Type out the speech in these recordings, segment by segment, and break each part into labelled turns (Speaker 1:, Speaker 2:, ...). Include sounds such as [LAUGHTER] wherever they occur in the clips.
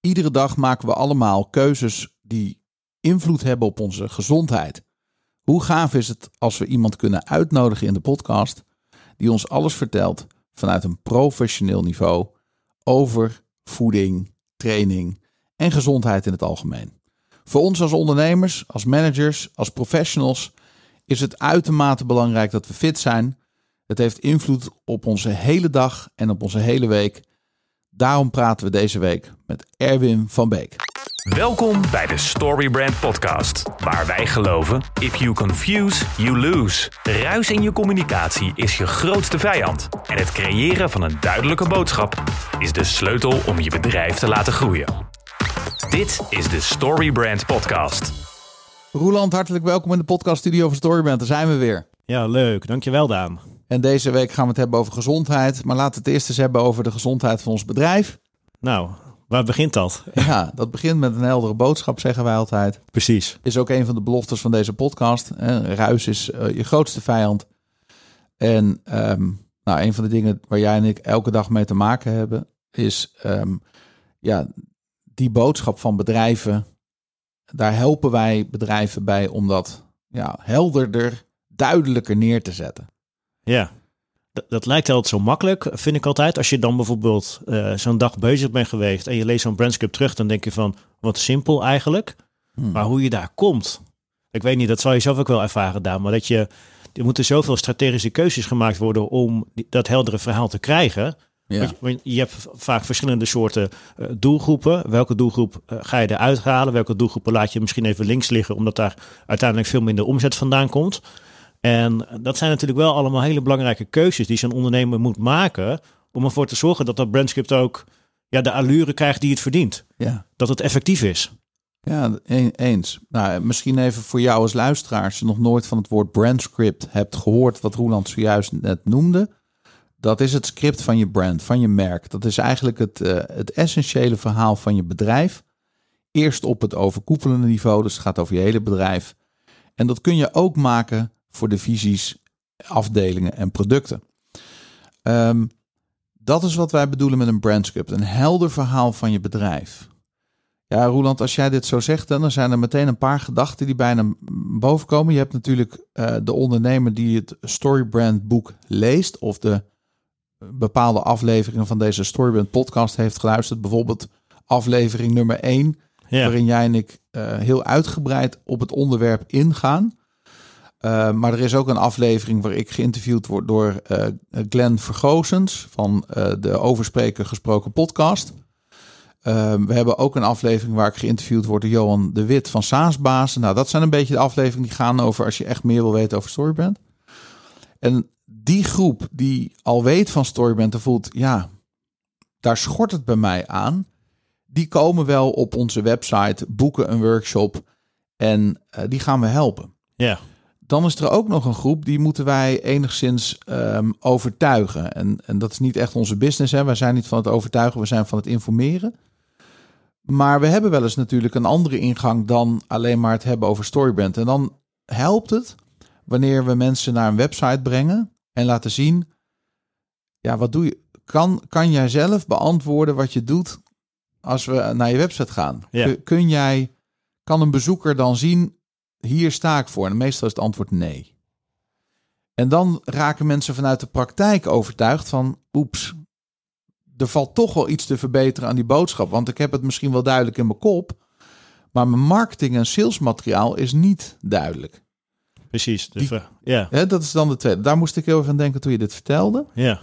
Speaker 1: Iedere dag maken we allemaal keuzes die invloed hebben op onze gezondheid. Hoe gaaf is het als we iemand kunnen uitnodigen in de podcast die ons alles vertelt vanuit een professioneel niveau over voeding, training en gezondheid in het algemeen. Voor ons als ondernemers, als managers, als professionals is het uitermate belangrijk dat we fit zijn. Het heeft invloed op onze hele dag en op onze hele week. Daarom praten we deze week met Erwin van Beek.
Speaker 2: Welkom bij de Storybrand Podcast, waar wij geloven: if you confuse, you lose. Ruis in je communicatie is je grootste vijand. En het creëren van een duidelijke boodschap is de sleutel om je bedrijf te laten groeien. Dit is de Storybrand Podcast.
Speaker 1: Roeland, hartelijk welkom in de podcaststudio van Storybrand. Daar zijn we weer.
Speaker 3: Ja, leuk. Dankjewel, Daan.
Speaker 1: En deze week gaan we het hebben over gezondheid. Maar laten we het eerst eens hebben over de gezondheid van ons bedrijf.
Speaker 3: Nou, waar begint dat?
Speaker 1: Ja, dat begint met een heldere boodschap, zeggen wij altijd.
Speaker 3: Precies.
Speaker 1: Is ook een van de beloftes van deze podcast. hè. Ruis is eh, je grootste vijand. En ehm, nou, een van de dingen waar jij en ik elke dag mee te maken hebben, is ehm, ja, die boodschap van bedrijven. Daar helpen wij bedrijven bij om dat ja, helderder, duidelijker neer te zetten.
Speaker 3: Ja. D- dat lijkt altijd zo makkelijk, vind ik altijd. Als je dan bijvoorbeeld eh, zo'n dag bezig bent geweest en je leest zo'n brandscript terug, dan denk je van, wat simpel eigenlijk. Maar hoe je daar komt, ik weet niet, dat zal je zelf ook wel ervaren, Daan. Maar dat je, er moeten zoveel strategische keuzes gemaakt worden om die- dat heldere verhaal te krijgen.
Speaker 1: Ja.
Speaker 3: Want je- Want je hebt v- vaak verschillende soorten eh, doelgroepen. Welke doelgroep eh, ga je eruit halen? Welke doelgroepen laat je misschien even links liggen, omdat daar uiteindelijk veel minder omzet vandaan komt? En eh, dat zijn natuurlijk wel allemaal hele belangrijke keuzes die zo'n ondernemer moet maken. om ervoor te zorgen dat dat brandscript ook ja, de allure krijgt die het verdient.
Speaker 1: ja.
Speaker 3: Dat het effectief is.
Speaker 1: Ja, een- eens. Nou, misschien even voor jou als luisteraar, als je nog nooit van het woord brandscript hebt gehoord, wat Roeland zojuist net noemde. Dat is het script van je brand, van je merk. Dat is eigenlijk het, eh, het essentiële verhaal van je bedrijf. Eerst op het overkoepelende niveau, dus het gaat over je hele bedrijf. En dat kun je ook maken voor de visies, afdelingen en producten. Ehm, dat is wat wij bedoelen met een brandscript. Een helder verhaal van je bedrijf. Ja, Roeland, als jij dit zo zegt, dan zijn er meteen een paar gedachten die bijna boven komen. Je hebt natuurlijk eh, de ondernemer die het Storybrand boek leest of de eh, bepaalde afleveringen van deze Storybrand podcast heeft geluisterd. Bijvoorbeeld aflevering nummer 1,
Speaker 3: Ja.
Speaker 1: waarin jij en ik eh, heel uitgebreid op het onderwerp ingaan. Eh, maar er is ook een aflevering waar ik geïnterviewd word door eh Glenn Vergoosens van eh, de Overspreken Gesproken podcast. Eh, we hebben ook een aflevering waar ik geïnterviewd word door Johan de Wit van Saasbaas. Nou, dat zijn een beetje de afleveringen die gaan over als je echt meer wil weten over Storyband. En die groep die al weet van Storyband en voelt, ja, daar schort het bij mij aan die komen wel op onze website, boeken een workshop en eh, die gaan we helpen.
Speaker 3: ja.
Speaker 1: Dan is er ook nog een groep die moeten wij enigszins ehm, overtuigen. En, en dat is niet echt onze business. Hè. Wij zijn niet van het overtuigen, we zijn van het informeren. Maar we hebben wel eens natuurlijk een andere ingang dan alleen maar het hebben over Storybrand. En dan helpt het wanneer we mensen naar een website brengen en laten zien. Ja, wat doe je? Kan, kan jij zelf beantwoorden wat je doet als we naar je website gaan?
Speaker 3: Ja.
Speaker 1: Kun, kun jij, kan een bezoeker dan zien, hier sta ik voor? En meestal is het antwoord nee. En dan raken mensen vanuit de praktijk overtuigd van, oeps, er valt toch wel iets te verbeteren aan die boodschap. Want ik heb het misschien wel duidelijk in mijn kop, maar mijn marketing en salesmateriaal is niet duidelijk.
Speaker 3: precies. De
Speaker 1: Die-
Speaker 3: ver- ja.
Speaker 1: Hè, dat is dan de tweede. Daar moest ik heel even aan denken toen je dit vertelde.
Speaker 3: Ja.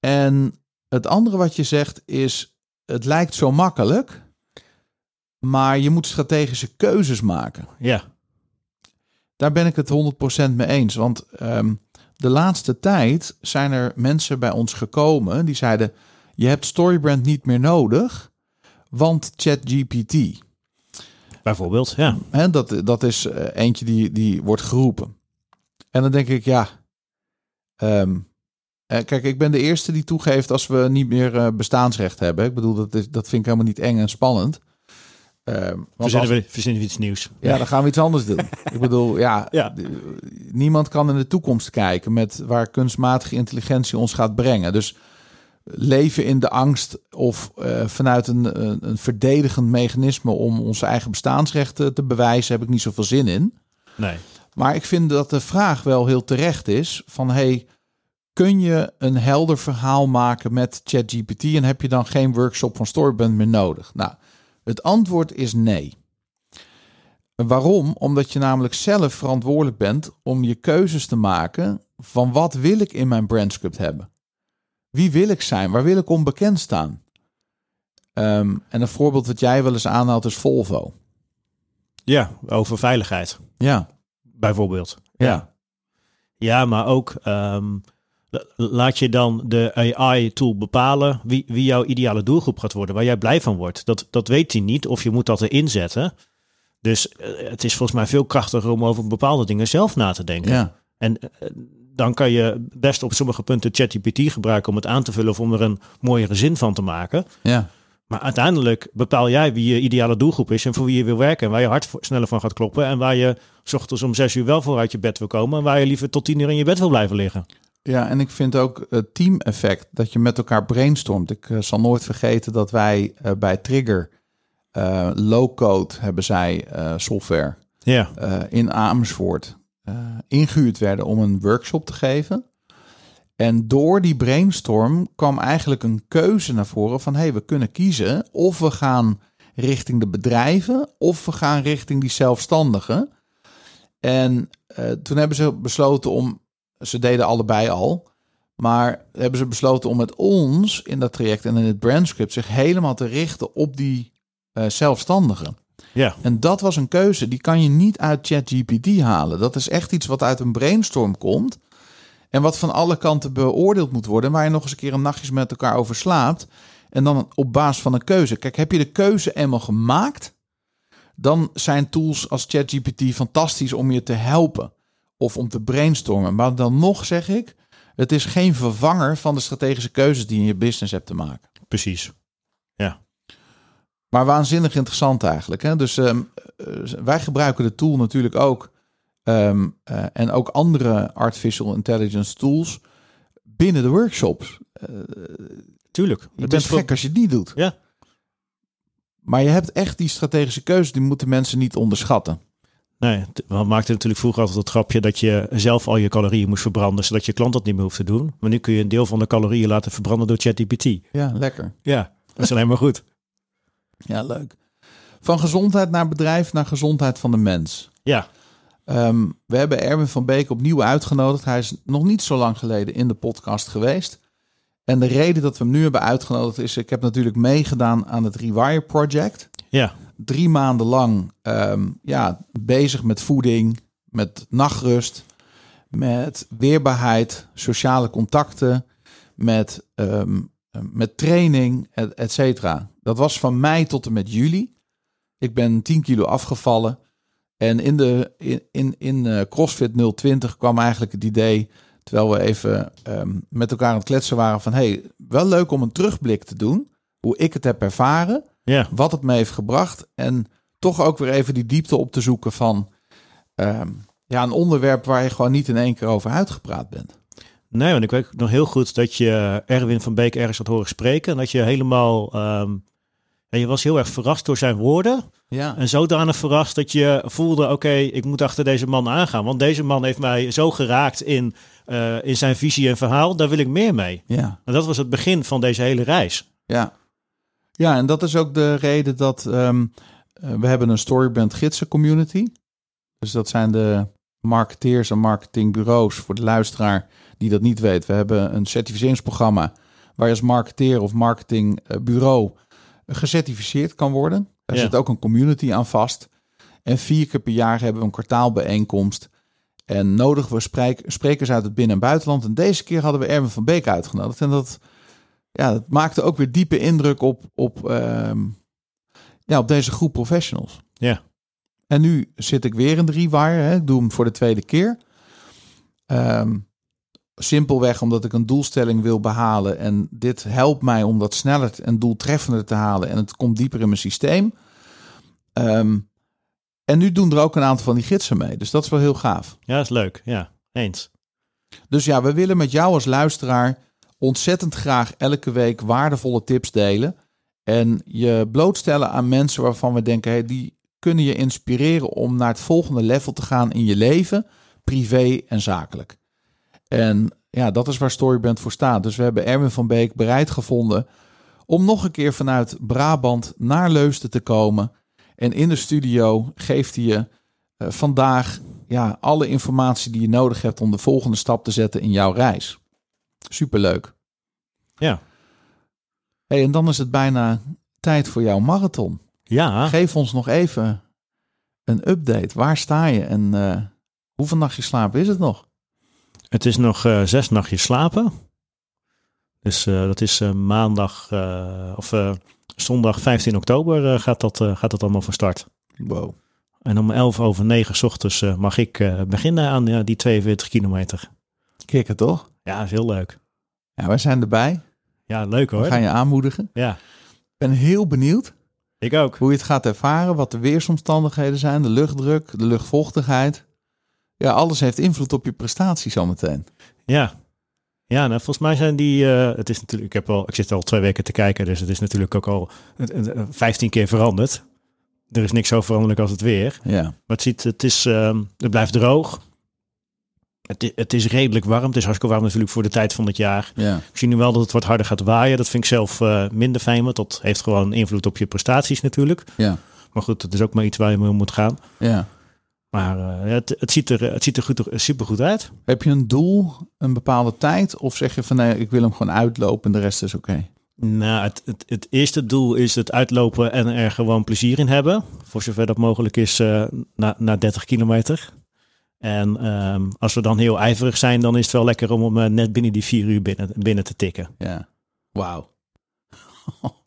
Speaker 1: En het andere wat je zegt is, het lijkt zo makkelijk, maar je moet strategische keuzes maken.
Speaker 3: Ja.
Speaker 1: Daar ben ik het 100% mee eens. Want ehm, de laatste tijd zijn er mensen bij ons gekomen die zeiden: Je hebt Storybrand niet meer nodig, want ChatGPT.
Speaker 3: Bijvoorbeeld. Ja.
Speaker 1: Hè, dat, dat is eh, eentje die, die wordt geroepen. En dan denk ik, ja. ehm, eh, kijk, ik ben de eerste die toegeeft als we niet meer eh, bestaansrecht hebben. Ik bedoel, dat, is, dat vind ik helemaal niet eng en spannend. Ehm, want als-
Speaker 3: Verzinnen we, verzinnen we iets nieuws.
Speaker 1: ja, dan gaan we iets anders doen. Ik bedoel, ja,
Speaker 3: Ja.
Speaker 1: d- niemand kan in de toekomst kijken met waar kunstmatige intelligentie ons gaat brengen. Dus leven in de angst of eh, vanuit een, een, een verdedigend mechanisme om onze eigen bestaansrechten te bewijzen, heb ik niet zoveel zin in.
Speaker 3: Nee.
Speaker 1: Maar ik vind dat de vraag wel heel terecht is van hey, kun je een helder verhaal maken met ChatGPT en heb je dan geen workshop van Storyband meer nodig? Nou, het antwoord is nee. Waarom? Omdat je namelijk zelf verantwoordelijk bent om je keuzes te maken van wat wil ik in mijn brandscript hebben? Wie wil ik zijn? Waar wil ik onbekend staan? Ehm, en een voorbeeld dat jij wel eens aanhaalt is Volvo.
Speaker 3: Ja, over veiligheid
Speaker 1: Ja,
Speaker 3: bijvoorbeeld.
Speaker 1: ja.
Speaker 3: Ja, maar ook ehm, la- laat je dan de AI-tool bepalen wie, wie jouw ideale doelgroep gaat worden, waar jij blij van wordt. Dat, dat weet hij niet, of je moet dat erin zetten. Dus eh, het is volgens mij veel krachtiger om over bepaalde dingen zelf na te denken.
Speaker 1: ja.
Speaker 3: En eh, dan kan je best op sommige punten ChatGPT gebruiken om het aan te vullen of om er een mooiere zin van te maken.
Speaker 1: ja.
Speaker 3: Maar uiteindelijk bepaal jij wie je ideale doelgroep is en voor wie je wil werken. En waar je hart voor- sneller van gaat kloppen. En waar je s ochtends om zes uur wel voor uit je bed wil komen. En waar je liever tot tien uur in je bed wil blijven liggen.
Speaker 1: Ja, en ik vind ook het team-effect dat je met elkaar brainstormt. Ik eh, zal nooit vergeten dat wij eh, bij Trigger eh, low-code hebben zij eh, software
Speaker 3: Ja,
Speaker 1: eh, in Amersfoort eh, ingehuurd werden om een workshop te geven. En door die brainstorm kwam eigenlijk een keuze naar voren van hé, hey, we kunnen kiezen of we gaan richting de bedrijven of we gaan richting die zelfstandigen. En eh, toen hebben ze besloten om, ze deden allebei al, maar hebben ze besloten om met ons in dat traject en in het brandscript zich helemaal te richten op die eh, zelfstandigen.
Speaker 3: ja,
Speaker 1: En dat was een keuze, die kan je niet uit ChatGPT halen. Dat is echt iets wat uit een brainstorm komt. En wat van alle kanten beoordeeld moet worden. Waar je nog eens een keer een nachtjes met elkaar over slaapt. En dan op basis van een keuze. Kijk, heb je de keuze eenmaal gemaakt? Dan zijn tools als ChatGPT fantastisch om je te helpen. Of om te brainstormen. Maar dan nog zeg ik, het is geen vervanger van de strategische keuzes die je in je business hebt te maken.
Speaker 3: precies.
Speaker 1: Maar waanzinnig interessant eigenlijk. Hè? Dus ehm, eh, wij gebruiken de tool natuurlijk ook. ehm, eh, en ook andere artificial intelligence tools binnen de workshops.
Speaker 3: Tuurlijk.
Speaker 1: Je
Speaker 3: Het
Speaker 1: bent
Speaker 3: is
Speaker 1: gek
Speaker 3: wel-
Speaker 1: als je het niet doet.
Speaker 3: Ja.
Speaker 1: Maar je hebt echt die strategische keuze, die moeten mensen niet onderschatten.
Speaker 3: Nee, t- we maakten natuurlijk vroeger altijd het grapje dat je zelf al je calorieën moest verbranden. Zodat je klant dat niet meer hoeft te doen. Maar nu kun je een deel van de calorieën laten verbranden door ChatGPT.
Speaker 1: Ja, lekker.
Speaker 3: Ja, dat is alleen maar goed.
Speaker 1: Ja, leuk. Van gezondheid naar bedrijf, naar gezondheid van de mens.
Speaker 3: Ja,
Speaker 1: Ehm, we hebben Erwin van Beek opnieuw uitgenodigd. Hij is nog niet zo lang geleden in de podcast geweest. En de reden dat we hem nu hebben uitgenodigd is... ik heb natuurlijk meegedaan aan het Rewire Project.
Speaker 3: ja,
Speaker 1: Drie maanden lang ehm, ja, bezig met voeding, met nachtrust... met weerbaarheid, sociale contacten, met, ehm, met training, et, et cetera. Dat was van mei tot en met juli. Ik ben 10 kilo afgevallen... En in, de, in, in, in eh, CrossFit 020 kwam eigenlijk het idee, terwijl we even ehm, met elkaar aan het kletsen waren, van hey, wel leuk om een terugblik te doen, hoe ik het heb ervaren,
Speaker 3: ja,
Speaker 1: wat het me heeft gebracht en toch ook weer even die diepte op te zoeken van ehm, ja, een onderwerp waar je gewoon niet in één keer over uitgepraat bent.
Speaker 3: Nee, want ik weet nog heel goed dat je Erwin van Beek ergens had horen spreken. En dat je helemaal. ehm, ja, je was heel erg verrast door zijn woorden.
Speaker 1: Ja,
Speaker 3: En zodanig verrast dat je voelde: oké, ik moet achter deze man aangaan. Want deze man heeft mij zo geraakt in, eh, in zijn visie en verhaal. Daar wil ik meer mee.
Speaker 1: ja.
Speaker 3: En dat was het begin van deze hele reis.
Speaker 1: Ja. Ja, en dat is ook de reden dat ehm, eh, we hebben een Storyband gidsen community. Dus dat zijn de marketeers en marketingbureaus voor de luisteraar die dat niet weet. We hebben een certificeringsprogramma waar je als marketeer of marketingbureau gecertificeerd kan worden. Daar
Speaker 3: Ja.
Speaker 1: zit ook een community aan vast. En vier keer per jaar hebben we een kwartaalbijeenkomst. En nodigen we sprijk- sprekers uit het binnen- en buitenland. En deze keer hadden we Erwin van Beek uitgenodigd. En dat ja, dat maakte ook weer diepe indruk op, op, ehm, ja, op deze groep professionals.
Speaker 3: Ja.
Speaker 1: En nu zit ik weer in de rewire. Hè. Ik doe hem voor de tweede keer. Ehm, simpelweg omdat ik een doelstelling wil behalen. En dit helpt mij om dat sneller en doeltreffender te halen. En het komt dieper in mijn systeem. Ehm, en nu doen er ook een aantal van die gidsen mee. Dus dat is wel heel gaaf.
Speaker 3: Ja, dat is leuk. Ja, eens.
Speaker 1: Dus ja, we willen met jou als luisteraar ontzettend graag elke week waardevolle tips delen. En je blootstellen aan mensen waarvan we denken, hey, die kunnen je inspireren om naar het volgende level te gaan in je leven, privé en zakelijk. En ja, dat is waar Storybrand voor staat. Dus we hebben Erwin van Beek bereid gevonden om nog een keer vanuit Brabant naar Leusden te komen. En in de studio geeft hij je eh, vandaag ja, alle informatie die je nodig hebt om de volgende stap te zetten in jouw reis. Superleuk.
Speaker 3: Ja.
Speaker 1: Hey, en dan is het bijna tijd voor jouw marathon.
Speaker 3: Ja,
Speaker 1: Geef ons nog even een update. Waar sta je en eh, hoeveel nachtjes slaap is het nog?
Speaker 3: het is nog eh, zes nachtjes slapen. Dus eh, dat is eh, maandag eh, of eh, zondag 15 oktober eh, gaat, dat, eh, gaat dat allemaal van start.
Speaker 1: Wow.
Speaker 3: En om 11 over 9 's ochtends eh, mag ik eh, beginnen aan ja, die 42 kilometer.
Speaker 1: Kikken toch?
Speaker 3: Ja, is heel leuk.
Speaker 1: Ja, wij zijn erbij.
Speaker 3: Ja, leuk
Speaker 1: We
Speaker 3: hoor.
Speaker 1: gaan je aanmoedigen.
Speaker 3: Ja,
Speaker 1: Ik ben heel benieuwd
Speaker 3: ik ook.
Speaker 1: hoe je het gaat ervaren, wat de weersomstandigheden zijn, de luchtdruk, de luchtvochtigheid. Ja, alles heeft invloed op je prestatie zometeen.
Speaker 3: Ja. Ja, nou, volgens mij zijn die. eh, het is natuurlijk, ik, heb al, ik zit al twee weken te kijken, dus het is natuurlijk ook al eh, eh, 15 keer veranderd. Er is niks zo veranderlijk als het weer.
Speaker 1: Ja,
Speaker 3: Maar het, ziet, het, is, ehm, het blijft droog. Het, i- het is redelijk warm. Het is hartstikke warm natuurlijk voor de tijd van het jaar.
Speaker 1: ja.
Speaker 3: Ik zie nu wel dat het wat harder gaat waaien. Dat vind ik zelf eh, minder fijn, want dat heeft gewoon invloed op je prestaties natuurlijk.
Speaker 1: Ja.
Speaker 3: Maar goed, dat is ook maar iets waar je mee om moet gaan.
Speaker 1: ja.
Speaker 3: Maar eh, het, het ziet er, het ziet er goed, supergoed uit.
Speaker 1: Heb je een doel, een bepaalde tijd? Of zeg je van nee, ik wil hem gewoon uitlopen en de rest is oké?
Speaker 3: Nou, het, het, het eerste doel is het uitlopen en er gewoon plezier in hebben. Voor zover dat mogelijk is eh, na, na 30 kilometer. En ehm, als we dan heel ijverig zijn, dan is het wel lekker om hem eh, net binnen die vier uur binnen, binnen te tikken.
Speaker 1: Ja. Wauw. [LAUGHS]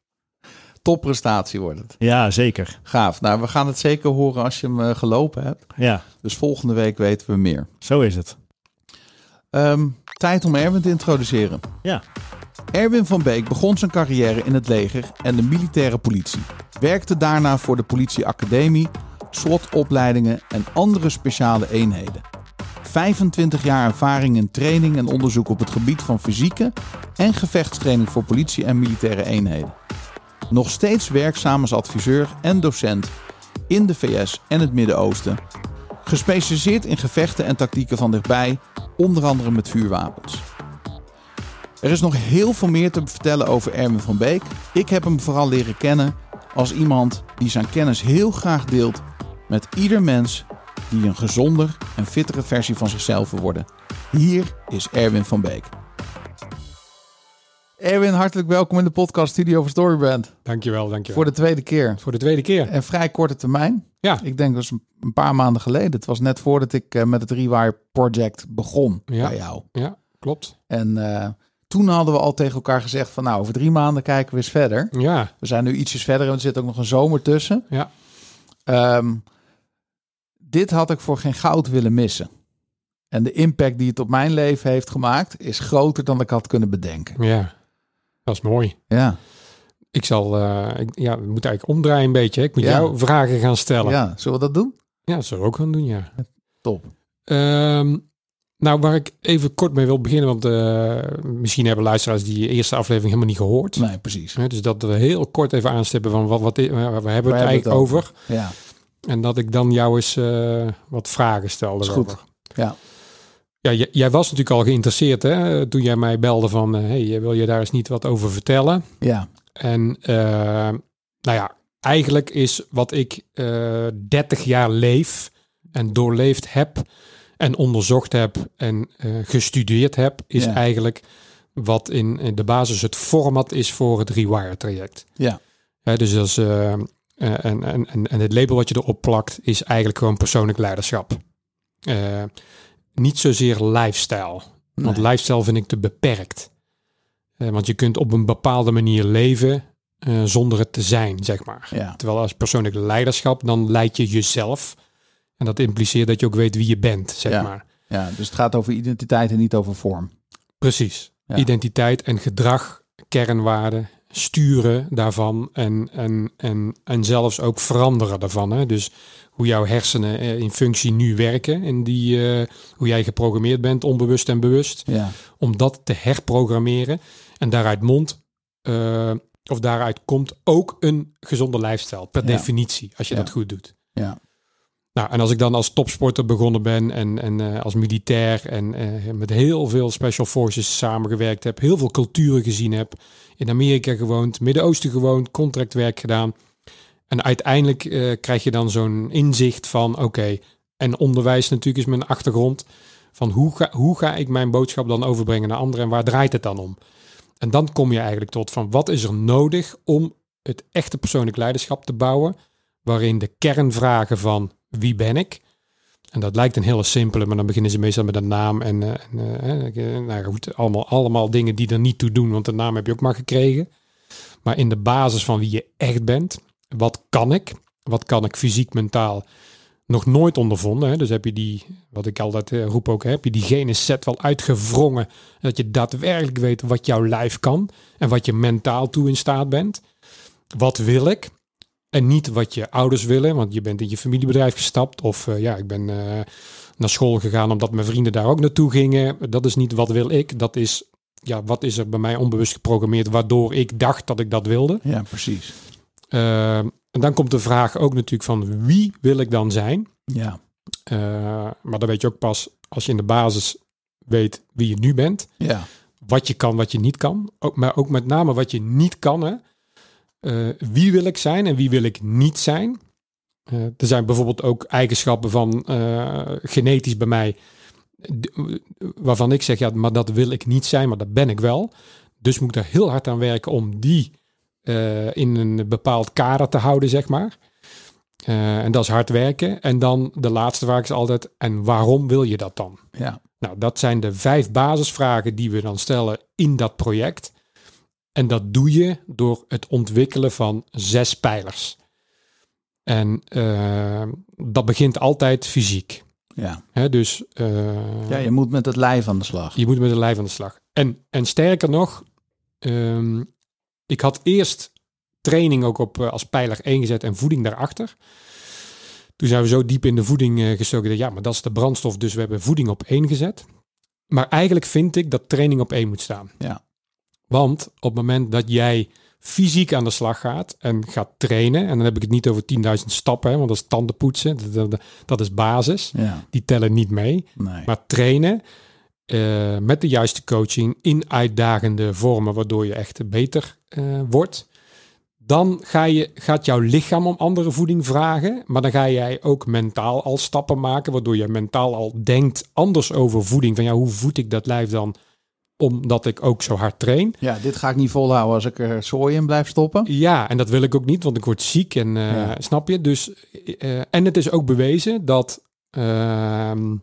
Speaker 1: Topprestatie wordt het.
Speaker 3: Ja, zeker.
Speaker 1: Gaaf. Nou, we gaan het zeker horen als je hem eh, gelopen hebt.
Speaker 3: Ja,
Speaker 1: Dus volgende week weten we meer.
Speaker 3: zo is het.
Speaker 1: Ehm, tijd om Erwin te introduceren.
Speaker 3: Ja,
Speaker 1: Erwin van Beek begon zijn carrière in het leger en de militaire politie. Werkte daarna voor de politieacademie, SWAT-opleidingen en andere speciale eenheden. 25 jaar ervaring in training en onderzoek op het gebied van fysieke en gevechtstraining voor politie en militaire eenheden. Nog steeds werkzaam als adviseur en docent in de VS en het Midden-Oosten. Gespecialiseerd in gevechten en tactieken van dichtbij, onder andere met vuurwapens. Er is nog heel veel meer te vertellen over Erwin van Beek. Ik heb hem vooral leren kennen als iemand die zijn kennis heel graag deelt met ieder mens die een gezonder en fittere versie van zichzelf wil worden. Hier is Erwin van Beek. Erwin, hartelijk welkom in de podcast Studio van Storybrand
Speaker 4: Dankjewel, dankjewel.
Speaker 1: voor de tweede keer.
Speaker 4: Voor de tweede keer.
Speaker 1: En vrij korte termijn.
Speaker 4: Ja,
Speaker 1: Ik denk dat was een paar maanden geleden. Het was net voordat ik eh, met het Rewire Project begon
Speaker 4: Ja.
Speaker 1: bij jou.
Speaker 4: ja klopt.
Speaker 1: En eh, toen hadden we al tegen elkaar gezegd van nou, over drie maanden kijken we eens verder.
Speaker 4: Ja,
Speaker 1: We zijn nu ietsjes verder en er zit ook nog een zomer tussen.
Speaker 4: ja.
Speaker 1: Ehm, dit had ik voor geen goud willen missen. En de impact die het op mijn leven heeft gemaakt is groter dan ik had kunnen bedenken.
Speaker 4: ja. Dat is mooi.
Speaker 1: Ja,
Speaker 4: Ik zal, eh, ik, ja, we moeten eigenlijk omdraaien een beetje. hè. Ik moet
Speaker 1: Ja.
Speaker 4: jou vragen gaan stellen. Ja,
Speaker 1: ja. zullen we dat doen?
Speaker 4: dat zullen we ook gaan doen, ja.
Speaker 1: Top.
Speaker 4: Ehm, nou, waar ik even kort mee wil beginnen, want eh, misschien hebben luisteraars die eerste aflevering helemaal niet gehoord.
Speaker 1: Nee, precies.
Speaker 4: Hè, dus dat we heel kort even aanstippen van wat, wat, i- waar hebben we het
Speaker 1: het
Speaker 4: eigenlijk
Speaker 1: over?
Speaker 4: over.
Speaker 1: Ja,
Speaker 4: En dat ik dan jou eens eh, wat vragen stelde.
Speaker 1: Is goed.
Speaker 4: daarover.
Speaker 1: Ja.
Speaker 4: Ja, j- jij was natuurlijk al geïnteresseerd hè, toen jij mij belde van... eh, hey, wil je daar eens niet wat over vertellen?
Speaker 1: ja,
Speaker 4: En eh, nou ja, eigenlijk is wat ik eh 30 jaar leef en doorleefd heb... en onderzocht heb en eh, gestudeerd heb... is
Speaker 1: Ja.
Speaker 4: eigenlijk wat in, in de basis het format is voor het Rewire-traject.
Speaker 1: ja,
Speaker 4: Hè, dus dat is, eh, eh, en, en, en, en het label wat je erop plakt is eigenlijk gewoon persoonlijk leiderschap. Eh, niet zozeer lifestyle. Want
Speaker 1: Nee.
Speaker 4: lifestyle vind ik te beperkt. Eh, want je kunt op een bepaalde manier leven eh, zonder het te zijn, zeg maar.
Speaker 1: ja,
Speaker 4: Terwijl als persoonlijk leiderschap, dan leid je jezelf. En dat impliceert dat je ook weet wie je bent, zeg
Speaker 1: Ja.
Speaker 4: maar.
Speaker 1: ja. Dus het gaat over identiteit en niet over vorm.
Speaker 4: Precies.
Speaker 1: Ja.
Speaker 4: Identiteit en gedrag, kernwaarden sturen daarvan en, en, en, en zelfs ook veranderen daarvan. Hè? Dus hoe jouw hersenen eh, in functie nu werken en die, eh, hoe jij geprogrammeerd bent, onbewust en bewust,
Speaker 1: Ja.
Speaker 4: om dat te herprogrammeren. En daaruit mondt, eh, of daaruit komt ook een gezonde lifestyle, per
Speaker 1: Ja.
Speaker 4: definitie, als je
Speaker 1: Ja.
Speaker 4: dat goed doet.
Speaker 1: Ja.
Speaker 4: Nou, en als ik dan als topsporter begonnen ben en, en eh, als militair en eh, met heel veel special forces samengewerkt heb, heel veel culturen gezien heb, in Amerika gewoond, Midden-Oosten gewoond, contractwerk gedaan. En uiteindelijk eh, krijg je dan zo'n inzicht van, oké, en onderwijs natuurlijk is mijn achtergrond, van hoe ga, hoe ga ik mijn boodschap dan overbrengen naar anderen en waar draait het dan om? En dan kom je eigenlijk tot van, wat is er nodig om het echte persoonlijk leiderschap te bouwen? waarin de kernvragen van wie ben ik? En dat lijkt een hele simpele, maar dan beginnen ze meestal met een naam en, eh, en eh, eh, nou goed, allemaal, allemaal dingen die er niet toe doen, want de naam heb je ook maar gekregen. Maar in de basis van wie je echt bent, wat kan ik? Wat kan ik fysiek, mentaal? Nog nooit ondervonden. Hè? Dus heb je die, wat ik altijd eh, roep ook, hè, heb je die gene set wel uitgevrongen. Dat je daadwerkelijk weet wat jouw lijf kan en wat je mentaal toe in staat bent. Wat wil ik? En niet wat je ouders willen, want je bent in je familiebedrijf gestapt. Of eh, ja, ik ben eh, naar school gegaan omdat mijn vrienden daar ook naartoe gingen. Dat is niet wat wil ik. Dat is, ja, wat is er bij mij onbewust geprogrammeerd waardoor ik dacht dat ik dat wilde.
Speaker 1: ja, precies.
Speaker 4: Eh, en dan komt de vraag ook natuurlijk van wie wil ik dan zijn?
Speaker 1: Ja.
Speaker 4: Eh, maar dat weet je ook pas als je in de basis weet wie je nu bent
Speaker 1: Ja.
Speaker 4: wat je kan, wat je niet kan. Ook, maar ook met name wat je niet kan. Hè. Eh, wie wil ik zijn en wie wil ik niet zijn? Eh, er zijn bijvoorbeeld ook eigenschappen van eh, genetisch bij mij. d- Waarvan ik zeg, ja, maar dat wil ik niet zijn, maar dat ben ik wel. Dus moet ik er heel hard aan werken om die eh, in een bepaald kader te houden, zeg maar. Eh, en dat is hard werken. En dan de laatste vraag is altijd, en waarom wil je dat dan?
Speaker 1: Ja.
Speaker 4: Nou, dat zijn de vijf basisvragen die we dan stellen in dat project. En dat doe je door het ontwikkelen van zes pijlers. En eh, dat begint altijd fysiek.
Speaker 1: Ja.
Speaker 4: Hè? Dus eh,
Speaker 1: ja, je moet met het lijf aan de slag.
Speaker 4: je moet met het lijf aan de slag. En, en sterker nog, ehm, ik had eerst training ook op eh, als pijler 1 gezet en voeding daarachter. Toen zijn we zo diep in de voeding eh, gestoken dat ja, maar dat is de brandstof, dus we hebben voeding op 1 gezet. Maar eigenlijk vind ik dat training op 1 moet staan.
Speaker 1: Ja.
Speaker 4: Want op het moment dat jij fysiek aan de slag gaat en gaat trainen, en dan heb ik het niet over 10.000 stappen, hè, want dat is tandenpoetsen, dat, dat, dat is basis,
Speaker 1: Ja.
Speaker 4: die tellen niet mee.
Speaker 1: Nee.
Speaker 4: Maar trainen eh, met de juiste coaching in uitdagende vormen, waardoor je echt beter eh, wordt. Dan ga je, gaat jouw lichaam om andere voeding vragen. Maar dan ga jij ook mentaal al stappen maken. Waardoor je mentaal al denkt anders over voeding. Van ja, hoe voed ik dat lijf dan? Omdat ik ook zo hard train.
Speaker 1: Ja, dit ga ik niet volhouden als ik er zooi in blijf stoppen.
Speaker 4: Ja, en dat wil ik ook niet, want ik word ziek en eh,
Speaker 1: Ja.
Speaker 4: snap je. Dus, eh, en het is ook bewezen dat. ehm,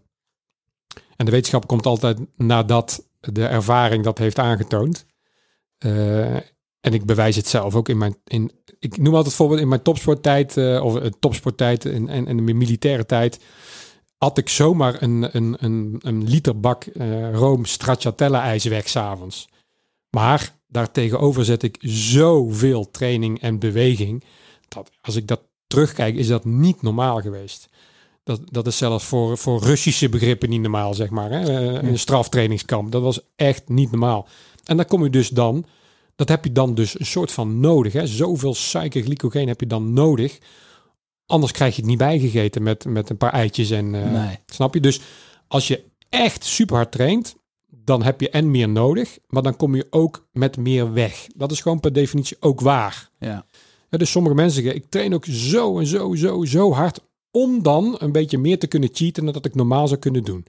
Speaker 4: en de wetenschap komt altijd nadat de ervaring dat heeft aangetoond. Eh, en ik bewijs het zelf ook in mijn. In, ik noem altijd voorbeeld in mijn topsporttijd, eh, of eh, topsporttijd en, en, en mijn militaire tijd. Had ik zomaar een, een, een, een liter bak eh, room stracciatella ijs weg s'avonds. Maar daartegenover zet ik zoveel training en beweging. Dat als ik dat terugkijk, is dat niet normaal geweest. Dat, dat is zelfs voor, voor Russische begrippen niet normaal, zeg maar. Hè? Eh, Een straftrainingskamp. Dat was echt niet normaal. En dan kom je dus dan. Dat heb je dan dus een soort van nodig. Hè? Zoveel suikerglycogeen heb je dan nodig. Anders krijg je het niet bijgegeten met, met een paar eitjes en eh,
Speaker 1: Nee.
Speaker 4: Snap je? Dus als je echt super hard traint, dan heb je en meer nodig, maar dan kom je ook met meer weg. Dat is gewoon per definitie ook waar.
Speaker 1: Ja.
Speaker 4: Ja, dus sommige mensen zeggen, ik train ook zo en zo, zo, zo hard om dan een beetje meer te kunnen cheaten dan dat ik normaal zou kunnen doen.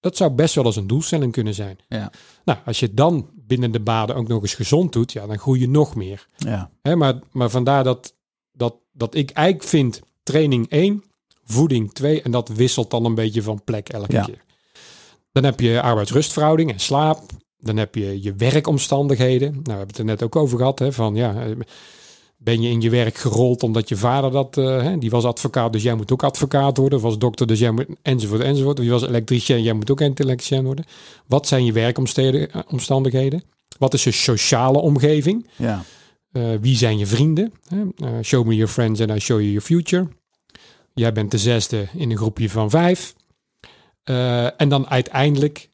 Speaker 4: Dat zou best wel als een doelstelling kunnen zijn.
Speaker 1: Ja.
Speaker 4: Nou, als je het dan binnen de baden ook nog eens gezond doet, ja, dan groei je nog meer.
Speaker 1: Ja.
Speaker 4: Hè, maar, maar vandaar dat, dat, dat ik eigenlijk vind training 1, voeding 2 en dat wisselt dan een beetje van plek elke
Speaker 1: Ja.
Speaker 4: keer. Dan heb je arbeidsrustverhouding en slaap. Dan heb je je werkomstandigheden. Nou, we hebben het er net ook over gehad. Hè, van ja, eh, ben je in je werk gerold omdat je vader dat, eh, hè, die was advocaat, dus jij moet ook advocaat worden. Of was dokter, dus jij moet enzovoort, enzovoort. Of je was elektricien, jij moet ook elektricien worden. eh, Wat zijn je werkomstandigheden? Wat is je sociale omgeving?
Speaker 1: Ja.
Speaker 4: eh, wie zijn je vrienden? Hè? Eh, show me your friends and I show you your future. Jij bent de zesde in een groepje van vijf. Eh, en dan uiteindelijk,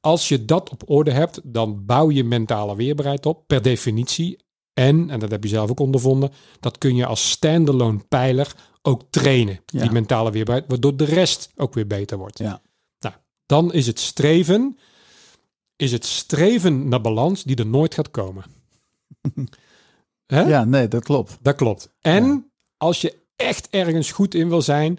Speaker 4: als je dat op orde hebt, dan bouw je mentale weerbaarheid op, per definitie. En, en dat heb je zelf ook ondervonden, dat kun je als standalone pijler ook trainen,
Speaker 1: Ja.
Speaker 4: die mentale weerbaarheid, waardoor de rest ook weer beter wordt.
Speaker 1: Ja.
Speaker 4: Nou, dan is het streven, is het streven naar balans die er nooit gaat komen. Hè?
Speaker 1: Ja, nee, dat klopt.
Speaker 4: Dat klopt. En als je echt ergens goed in wil zijn,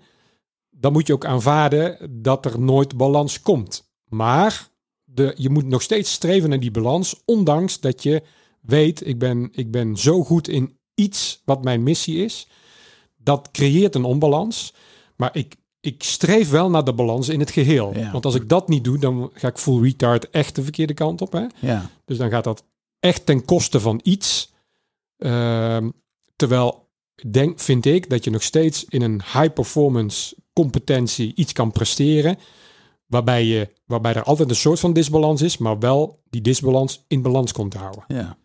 Speaker 4: dan moet je ook aanvaarden dat er nooit balans komt. Maar de, je moet nog steeds streven naar die balans, ondanks dat je weet, ik ben, ik ben zo goed in iets wat mijn missie is. Dat creëert een onbalans. Maar ik, ik streef wel naar de balans in het geheel.
Speaker 1: Ja.
Speaker 4: Want als ik dat niet doe, dan ga ik full retard echt de verkeerde kant op. Hè?
Speaker 1: Ja,
Speaker 4: Dus dan gaat dat echt ten koste van iets. Ehm, terwijl, denk, vind ik, dat je nog steeds in een high-performance competentie iets kan presteren. Waarbij, je, waarbij er altijd een soort van disbalans is, maar wel die disbalans in balans komt te houden.
Speaker 1: ja.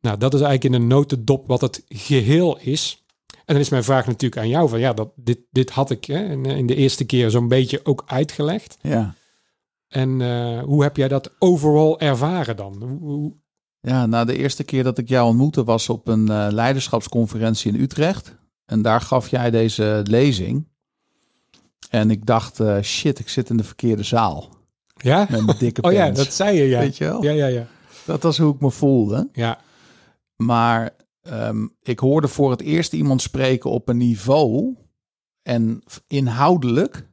Speaker 4: Nou, dat is eigenlijk in een notendop wat het geheel is. En dan is mijn vraag natuurlijk aan jou: van ja, dat, dit, dit had ik hè, in- in de eerste keer zo'n beetje ook uitgelegd.
Speaker 1: ja.
Speaker 4: En eh, hoe heb jij dat overal ervaren dan? Hoe- hoe-
Speaker 1: Ja, nou de eerste keer dat ik jou ontmoette was op een eh, leiderschapsconferentie in Utrecht. En daar gaf jij deze lezing. En ik dacht, eh, shit, ik zit in de verkeerde zaal.
Speaker 4: ja?
Speaker 1: Met mijn dikke
Speaker 4: [LAUGHS] Oh ja,
Speaker 1: pens.
Speaker 4: dat zei je, ja.
Speaker 1: Weet je wel?
Speaker 4: Ja, ja, ja.
Speaker 1: Dat was hoe ik me voelde.
Speaker 4: Ja,
Speaker 1: Maar ehm, ik hoorde voor het eerst iemand spreken op een niveau en f- inhoudelijk.